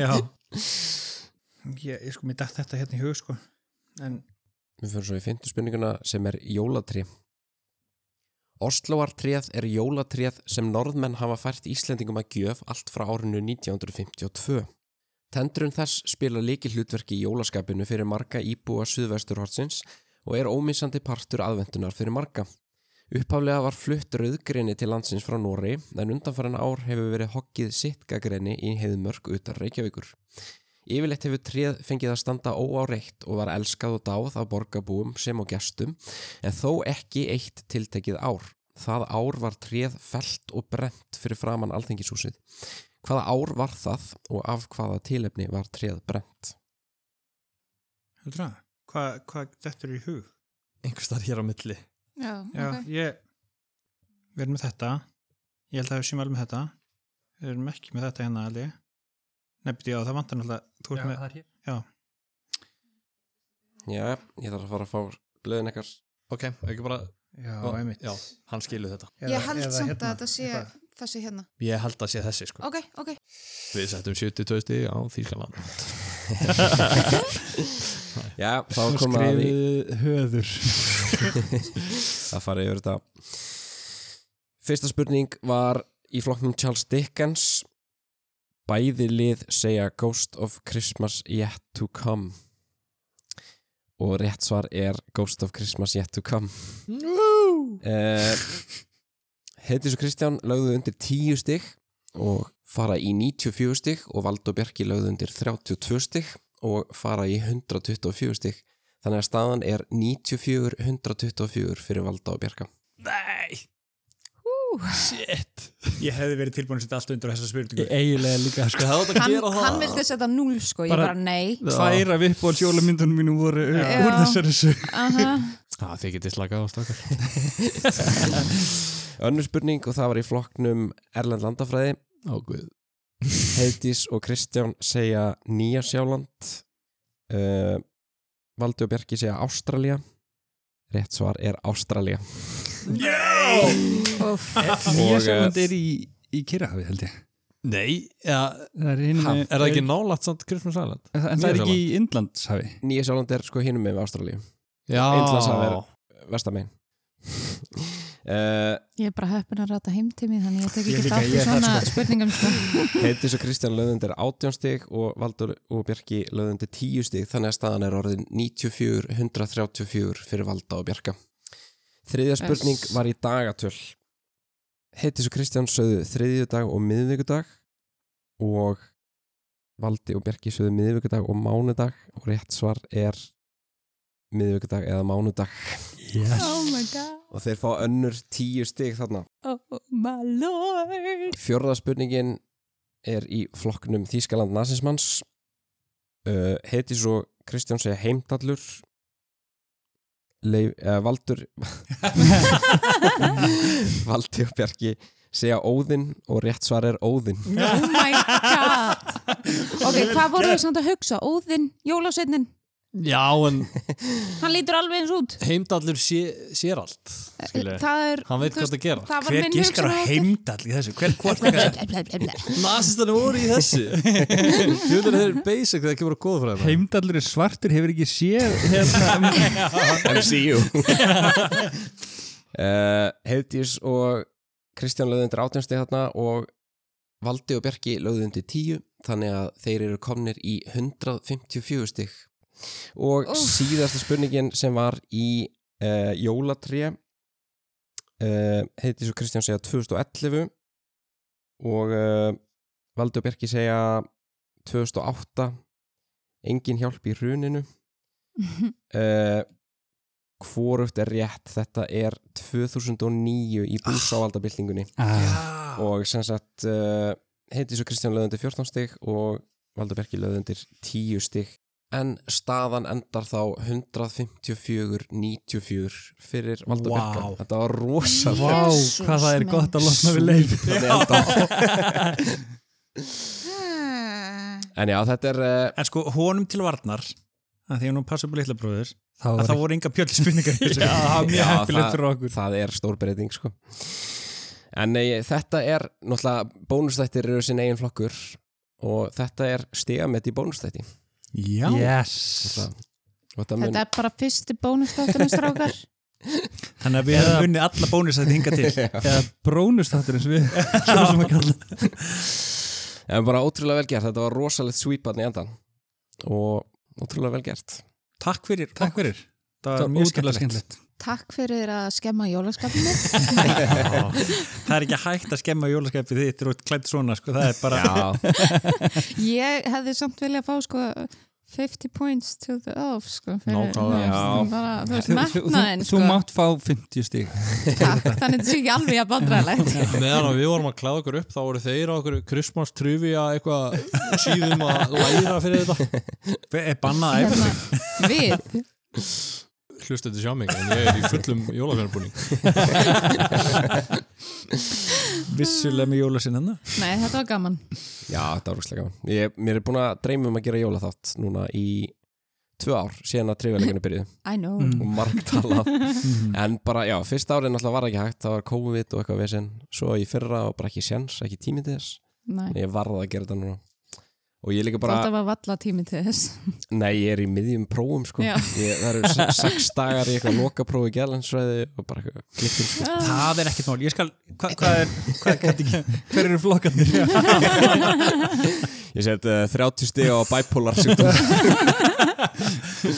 Já. Ég, ég sko, mér dætt þetta hérna í hug, sko. En, Við fyrir svo í fyndu spurninguna sem er jólatrí. Osloartréð er jólatréð sem norðmenn hafa fært Íslendingum að gjöf allt frá árinu 1952. Tendrun þess spila líki hlutverki í jólaskapinu fyrir marga íbúa suðvesturhortsins og er ómissandi partur aðvendunar fyrir marga. Upphaflega var flutt rauðgreni til landsins frá Nóri en undanfæran ár hefur verið hokkið sittgagreni í heiðmörk utan Reykjavíkur. Yfirleitt hefur tréð fengið að standa óáreitt og var elskað og dáð af borgarbúum sem og gestum, en þó ekki eitt tiltekið ár. Það ár var tréð felt og brent fyrir framann alþingishúsið. Hvaða ár var það og af hvaða tilefni var tréð brent? heldur það? Hvað hva þetta er í hug? Einhvers þar hér á milli Já, Já, ok. ég við erum með þetta ég held að við séum alveg með þetta við erum ekki með þetta hérna alveg nefndi já, það vantar náttúrulega þú ert með, er hér. Já, ég þarf að fara að fá blöðin ekkar. Ok, ekki bara já, Já, einmitt Já, hann skilur þetta Ég held samt að þetta sé eitthvað. þessi hérna. Ég held að sé þessi sko Ok, ok. Við settum 72 stíg á Þýrkaland Já, þá komum við að því höður að fara yfir þetta. Fyrsta spurning var í flokknum Charles Dickens. Bæði lið segja Ghost of Christmas Yet to Come. Og rétt svar er Ghost of Christmas Yet to Come. Uh, Heitis og Kristján lögðu undir 10 stygg og fara í 94 stygg og Valdo Bjarki lögðu undir 32 stygg og fara í 124 stygg. Þannig að staðan er 94-124 fyrir Valda og Bjarka. Nei Shit ég hefði verið tilbúin að setja allt undir á þessa spurningu Ég eiginlega líka, sko. Hvað hefði þetta að Hann, gera það? hann vildi setja 0 sko, ég Bara- bara nei. Tvær af uppbóðs jólamyndunum mínu voru Já. úr þessari sög. Aha. Já, þið getið slakað á stakar Önnur spurning og það var í flokknum Erlend landafræði. Ó, guð Heiðdís og Kristján segja Nýja Sjáland. Uh, Valdi og Bjarki segja Ástralía. Rétt svar er Ástralía. Úff. Og, eh, Nýja sjálfandi er í, í Kirrahafi, held ég. Nei, ja, Það er, hinum, er það ekki nálægt samt Christmas Island? En það- en það er ekki Nýja-Sjáland? í Indlandshafi. Nýja Sjáland er sko hinum með Ástralíu. Já Indlandshafið. Vestamein. Uh, Ég er bara heppin að rata heimtími þannig ég tek Ég ekki líka, þátt ég í er þar, svona sko. spurningum sko. Heiðdís og Kristján löðundir 18 stig og Valdur og Bjarki löðundir 10 stig þannig að staðan er orðin 94-134 fyrir Valda og Bjarka. Þriðja spurning Yes. var í dagatöl. Heiðdís og Kristján sögðu þriðjudag og miðvikudag og Valdi og Bjarki sögðu miðvikudag og mánudag og rétt svar er miðvikudag eða mánudag Yes. Oh my god, og þeir fá önnur 10 stig þarna. oh my lord. Fjörða spurningin er í flokknum Þískaland nazismanns uh, heiti svo Kristján segja heimdallur Leif, uh, Valdur Valdi og Bjarki segja Óðinn og rétt svar er Óðinn Oh my god Ok, hvað voru þau samt að hugsa? Óðinn, jólasveitnin, Já, en hann lítur alveg eins út heimdallur sé, sér allt skilur. Það er Hann veit þú hvað það gera Það var Hver minn giskar hugsun á heimdall í þessu? Hver hvort ekki? Nasistan voru í þessu Þjóður þeir eru basic þegar kemur að góða frá þeim Heimdallur er svartur, hefur ekki séð hérna, MCU uh, Heiðdís og Kristján lögðu undir átjánsti þarna og Valdi og Bjarki lögðu undir 10 þannig að þeir eru komnir í 154 stygg og Úff. síðasta spurningin sem var í uh, jólatré uh, Heiðdís og Kristján segja 2011 og uh, Valdi og Bjarki segja 2008 engin hjálp í hruninu uh, Hvorugt er rétt, þetta er 2009 í búsávaldabildingunni Ah, og sem sagt uh, heiti svo Kristján löðundir 14 stygg og Valdur Berki löðundir 10 stygg en staðan endar þá 154-94 fyrir Valdur Vá. wow. Þetta var rosa Vá. Vá, Jesus hvað það er minn. gott að losna við leif En já, þetta er uh, En sko, honum til varnar, að því að nú passa upp á litla bróður, Þá að var það voru enga pjöllspurningar í þessu. Já, það var Já, mjög það- heppilegt fyrir okkur. það er stór breyting sko. en nei, þetta er náttúrulega bónustættir eru sinn eigin flokkur og þetta er stigamett í bónustætti Já. Yes og þetta mun Þetta er bara fyrsti bónustáttunum strákar Þannig að við hefum unnið alla bónus að þetta hinga til. Eða brónustáttur eins og við kjóðum að kalla en bara ótrúlega vel gert, þetta var rosalegt sweepan í endan og ótrúlega vel gert Takk fyrir. Takk fyrir. Það það var mjög Ótrúlega skemmtilegt. skemmtilegt Takk fyrir að skemma jólaskapinu Það er ekki hægt að skemma jólaskapið þitt og klætt svona, sko. Það er bara... já, Ég hefði samt viljað fá sko 50 points to the off sko fyrir- Nákvæmlega, þú veist, bara, Þú veist, Þú- þú- metnaðin Þú sko mátt fá 50 stík Takk, þannig að þetta sé ekki alveg að bandræðlegt Meðan að við vorum að klæða okkur upp þá voru þeir á okkur Christmas trivia eitthvað síðum að læra fyrir þetta er bannað að æfa hérna, sig. Við Hlustu þetta sjá mig en ég er í fullum jólafjörnbúning Vissulega með jólasinn hann. Nei, þetta var gaman já þetta var rosalega gaman ég, mér er búin að dreyma um að gera jólaþátt núna í tvö ár síðan að trefjarleikinu byrjuð I know Mm. og margtalað Mhm. en bara, já, fyrsta árið náttúrulega var ekki hægt það var COVID og eitthvað vesinn svo í fyrra var bara ekki sjans, ekki tími til þess Nei, Nei, ég varða að gera þetta núna og ég líka bara, Þetta var valla tími til þess nei ég er í miðjum prófum sko, Já. ég, það eru se- sex dagar í eitthvað lokaprófi gælansræði og bara eitthvað klippin sko. Það er ekkert mál. Ég skal... hva- Hvað er... Hvað er... Hver eru flokkarnir? ég set uh, 30 stig á bipolar sjúkdóm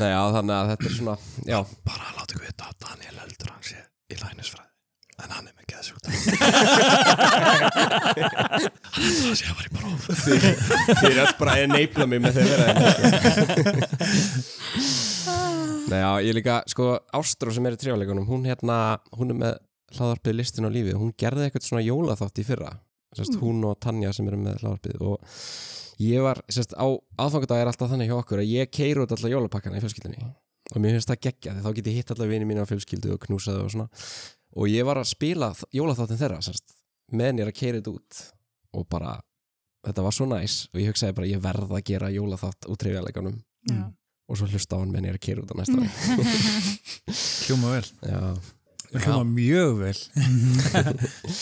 nei já þannig að þetta er svona já, Bara að láta ykkur vita að Daniel heldur hans í lænisfræði en hann er með geðsjúkdæm þeir er bara að neipla mig með þeir verða nei já, ég líka sko Ástró sem er í trjáleikunum, hún hérna hún er með hlaðarpið listin á lífið hún gerði eitthvað svona jólaþátt í fyrra sest, hún og Tanja sem eru með hlaðarpið og ég var, sest, á aðfangadag er alltaf þannig hjá okkur að ég keir út alltaf jólapakkana í fjölskyldinni og mér finnst það geggja því þá get ég hitt alltaf vini mínu á fjölskyldu og knúsaðu og svona og ég var að spila þ- jólaþáttin þeirra sest, meðan ég er að keira þetta út og bara, þetta var svo næs og ég hugsaði bara, ég verð að gera jólaþátt út trefjarleikunum Já. og svo hlusta á hann meðan ég er að keira út á næsta ári Hljóma vel. Já. Hljóma mjög vel.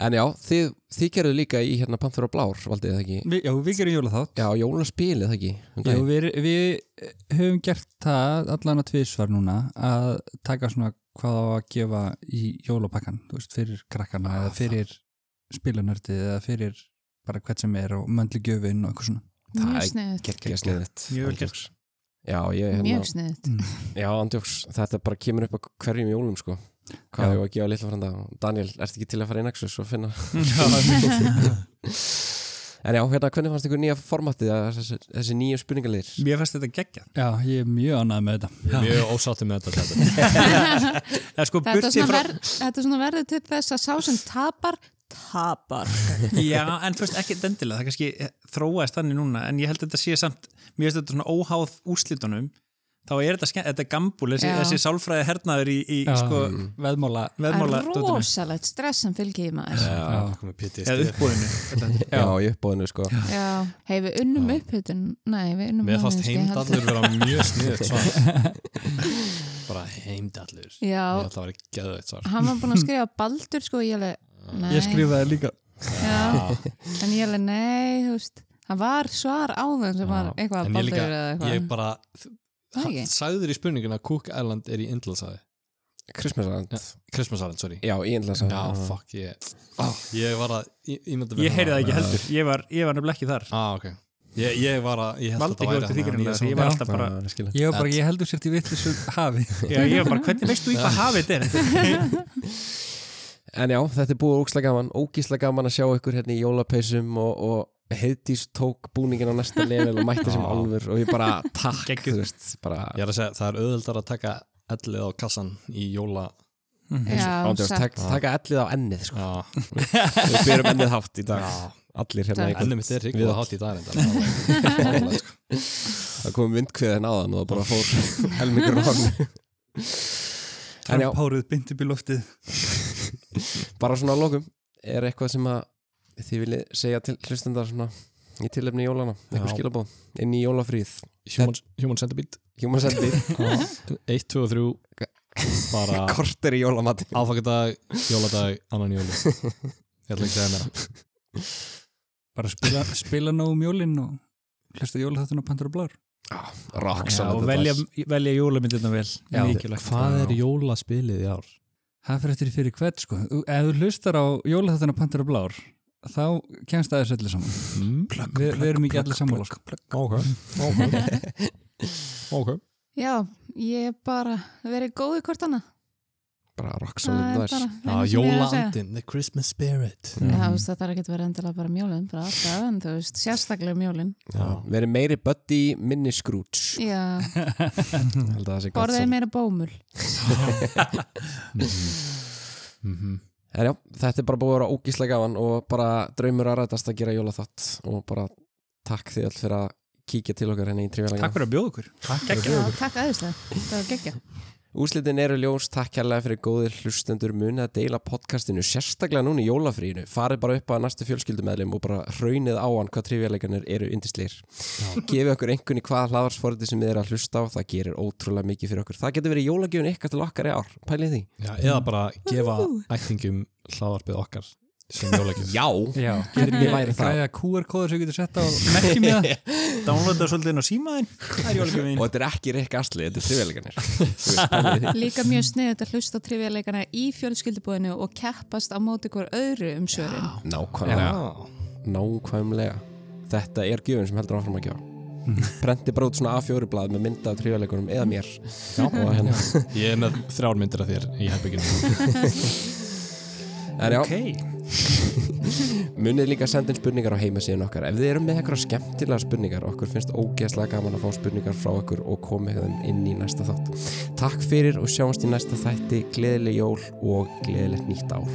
En já, þið, þið gerðu líka í hérna Panther og Blár, valdið það ekki? Við- Já, við gerum jólaþátt Já, jólaspilið það ekki? Um Já, daginn. við, við höfum gert það allan að tvísvar núna að taka svona hvað á að gefa í jólapakkan, þú veist, fyrir krakkana eða fyrir spilanördið eða fyrir bara hvert sem er og möndli gjöfin og eitthvað svona. Það Mjög er sniðut Gekkja sniðið. Mjög vel gert. Andjóks. Já, ég, hérna, Mjög sniðut Mm. já, andjóks, þetta bara kemur upp á hverjum jólum, sko. Hvað Já. hefur að gefa litla frænda? Daniel, ertu ekki til að fara í Nexus og finna? en já, hérna, hvernig fannst ykkur nýja formatið, eða þessi, þessi nýju spurningalir? Mér fannst þetta geggjað. Já, ég er mjög ánægð með þetta. Mjög ósátti með þetta þetta Eða Þetta sko, er burtið svona, frá... verð, þetta er svona verður til þess að sá sem tapar tapar Já, en þú veist, ekki dendilega, eh, það kannski þróaðist þannig núna, en ég held að þetta sé samt, mér finnst þetta svona óháð úrslitunum, þá er þetta, skemmt- þetta er gambúl þessi, Já. þessi sálfræði hernaður í, í Já. sko, veðmála Það veðmála er rosalegt stress sem fylgir í maður. Já, komið PTSD. eða uppbúðinu já, í uppbóðinu sko Já, hei við unnum Já. upphitun Nei, við unnum Mér fannst hana, ég held- heimdallur vera mjög sniðið svar. Bara heimdallur. Ég Já, ætla að vera geðveitt svar. hann var búinn að skrifa Baldur sko, ég alveg, nei ég skrifaði líka já, En ég alveg, nei, þú veist Það var svar áðan sem var Já. eitthvað En ég Baldur líka- eða Ég eitthvað bara, Það ekki. sagður í spurninguna að Cook Island er í Indlandsæði. Christmas Island Christmas Island, sorry. Já, í Indlands Já, fuck, ég, Ah, ég var að, ég, ég myndi ég heyrði það ekki heldur, ég var, ég var nefnilega ekki þar Ah, ok. Ég, ég var að, ég held Valdi að ekki þetta eftir því væri greinilega, því ég nýja var Já. alltaf bara, skilja ég var bara, ég heldur sér til vitlisum hafi já, ég var bara hvernig veistu í hvað hafið þetta er En já, þetta er búið ógislega gaman Ógislega gaman að sjá ykkur hérna í jólapeysum og, og heiðdís tók búningin á næsta level og mætti sem Já. alvur og ég bara takk, Geggjuð. þú veist bara, Ég er að segja, það er auðvöldar að taka ellið á kassan í jóla Án Já, djóks, satt tak, taka ellið á ennið sko. Já, Við byrjum ennið hátt í dag já. Allir hérna í ennum mitt er Við- ríkulega hátt í dag reyndar. Það er alveg- Það kom vindkviðin áðan og það bara fór helmingur á hann En já, trampárið bindið bíl loftið bara svona að lokum Er eitthvað sem að þið viljið segja til hlustendar svona í tilefni jólana, eitthvað Já. skilabóð inn í jólafríð, Human, human centipede human sendið 1, 2 og 3 bara korter í jólamati aðfakadag, jóladag, annan jóli ég ætla ekki að segja meira bara spila, spila nóg um jólinn og hlusta jólaþáttun og pandur og blár Rock Já, og solid velja, advice. velja jólamyndirna vel Já. mikilvægt hvað er jólaspilið í ár? það fyrir eftir í fyrir hvert sko Þú- ef þú hlustar á jólaþáttun og pandur og blár þá kemst það þessu öllu saman Hmm? Mm? Vi, við erum ekki allir sammála sko. ok ok, okay. Já, ég bara verið góð í hvort hana bara rock Það solid er advice bara Já, eina sem ég er að segja. jólaandin, the Christmas spirit Já, Mhm. þú veist, þetta er ekki verið endilega bara mjólin bara alltaf, en þú veist, sérstaklega mjólin Já. verið meiri buddy, minni skrúts Já, held að það sé gott borðið solid. meira bómul Mhm. En já, þetta er bara búið að vera ógíslega gafan og bara draumur að rætast að gera jólaþátt og bara takk þið all fyrir að kíkja til okkar henni í takk trivjálanga fyrir að bjóða okkur Já, takk aðeinslega, það var geggja Úslitin eru ljós, takk hérlega fyrir góðir hlustendur munið að deila podcastinu sérstaklega núna í jólafríinu, farið bara upp að næstu fjölskyldumeðlum og bara raunið á hann hvað trivjalegarnir eru yndisleir gefið okkur einhvern í hvaða hlaðarsforði sem þið eru að hlusta á, það gerir ótrúlega mikið fyrir okkur það getur verið jólagjöfun ykkar til okkar í ár pælið því Já, eða bara gefa ættingum hláðarpið okkar sem jólagjum Já, já, getur Ég væri ekki það. græða QR-kóður sem við getur sett á merkjum í það downloada svolítið inn á símaðin það er jólamyndin og þetta er ekki Rick Astley, þetta er trivjalegarnir Líka mjög sniðið að hlusta á trivialeikana í fjölskyldubúðinu og keppast á móti hver öðru um svörin. Nákvæmlega Nákvæmlega Þetta er gjöfun sem heldur áfram að gefa Prenti bara út svona A4 blað með mynda af tríðarleikunum eða mér Já, hérna. Ég er með þrjár myndir af þér í herbygginu En já, ok, munið líka að senda inn spurningar á heimasíðin okkar Ef þið eru með eitthvað skemmtilega spurningar okkur finnst ógeðslega gaman að fá spurningar frá okkur og komið þeim inn í næsta þátt Takk fyrir og sjáumst í næsta þætti Gleðileg jól og gleðilegt nýtt ár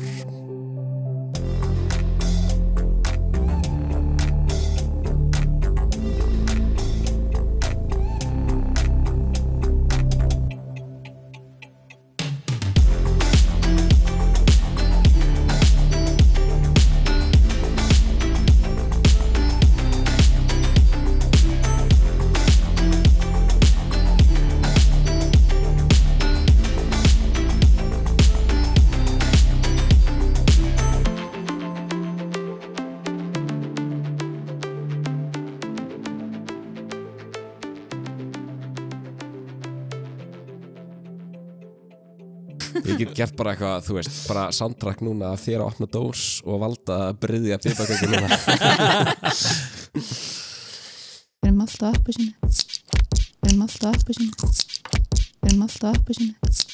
Ég get gert bara eitthvað, þú veist, bara soundtrack núna af þér að opna dós og valda að bryðja pipaköku núna Við erum alltaf appi sinni. Við erum alltaf appi sinni. Við erum alltaf appi sinni.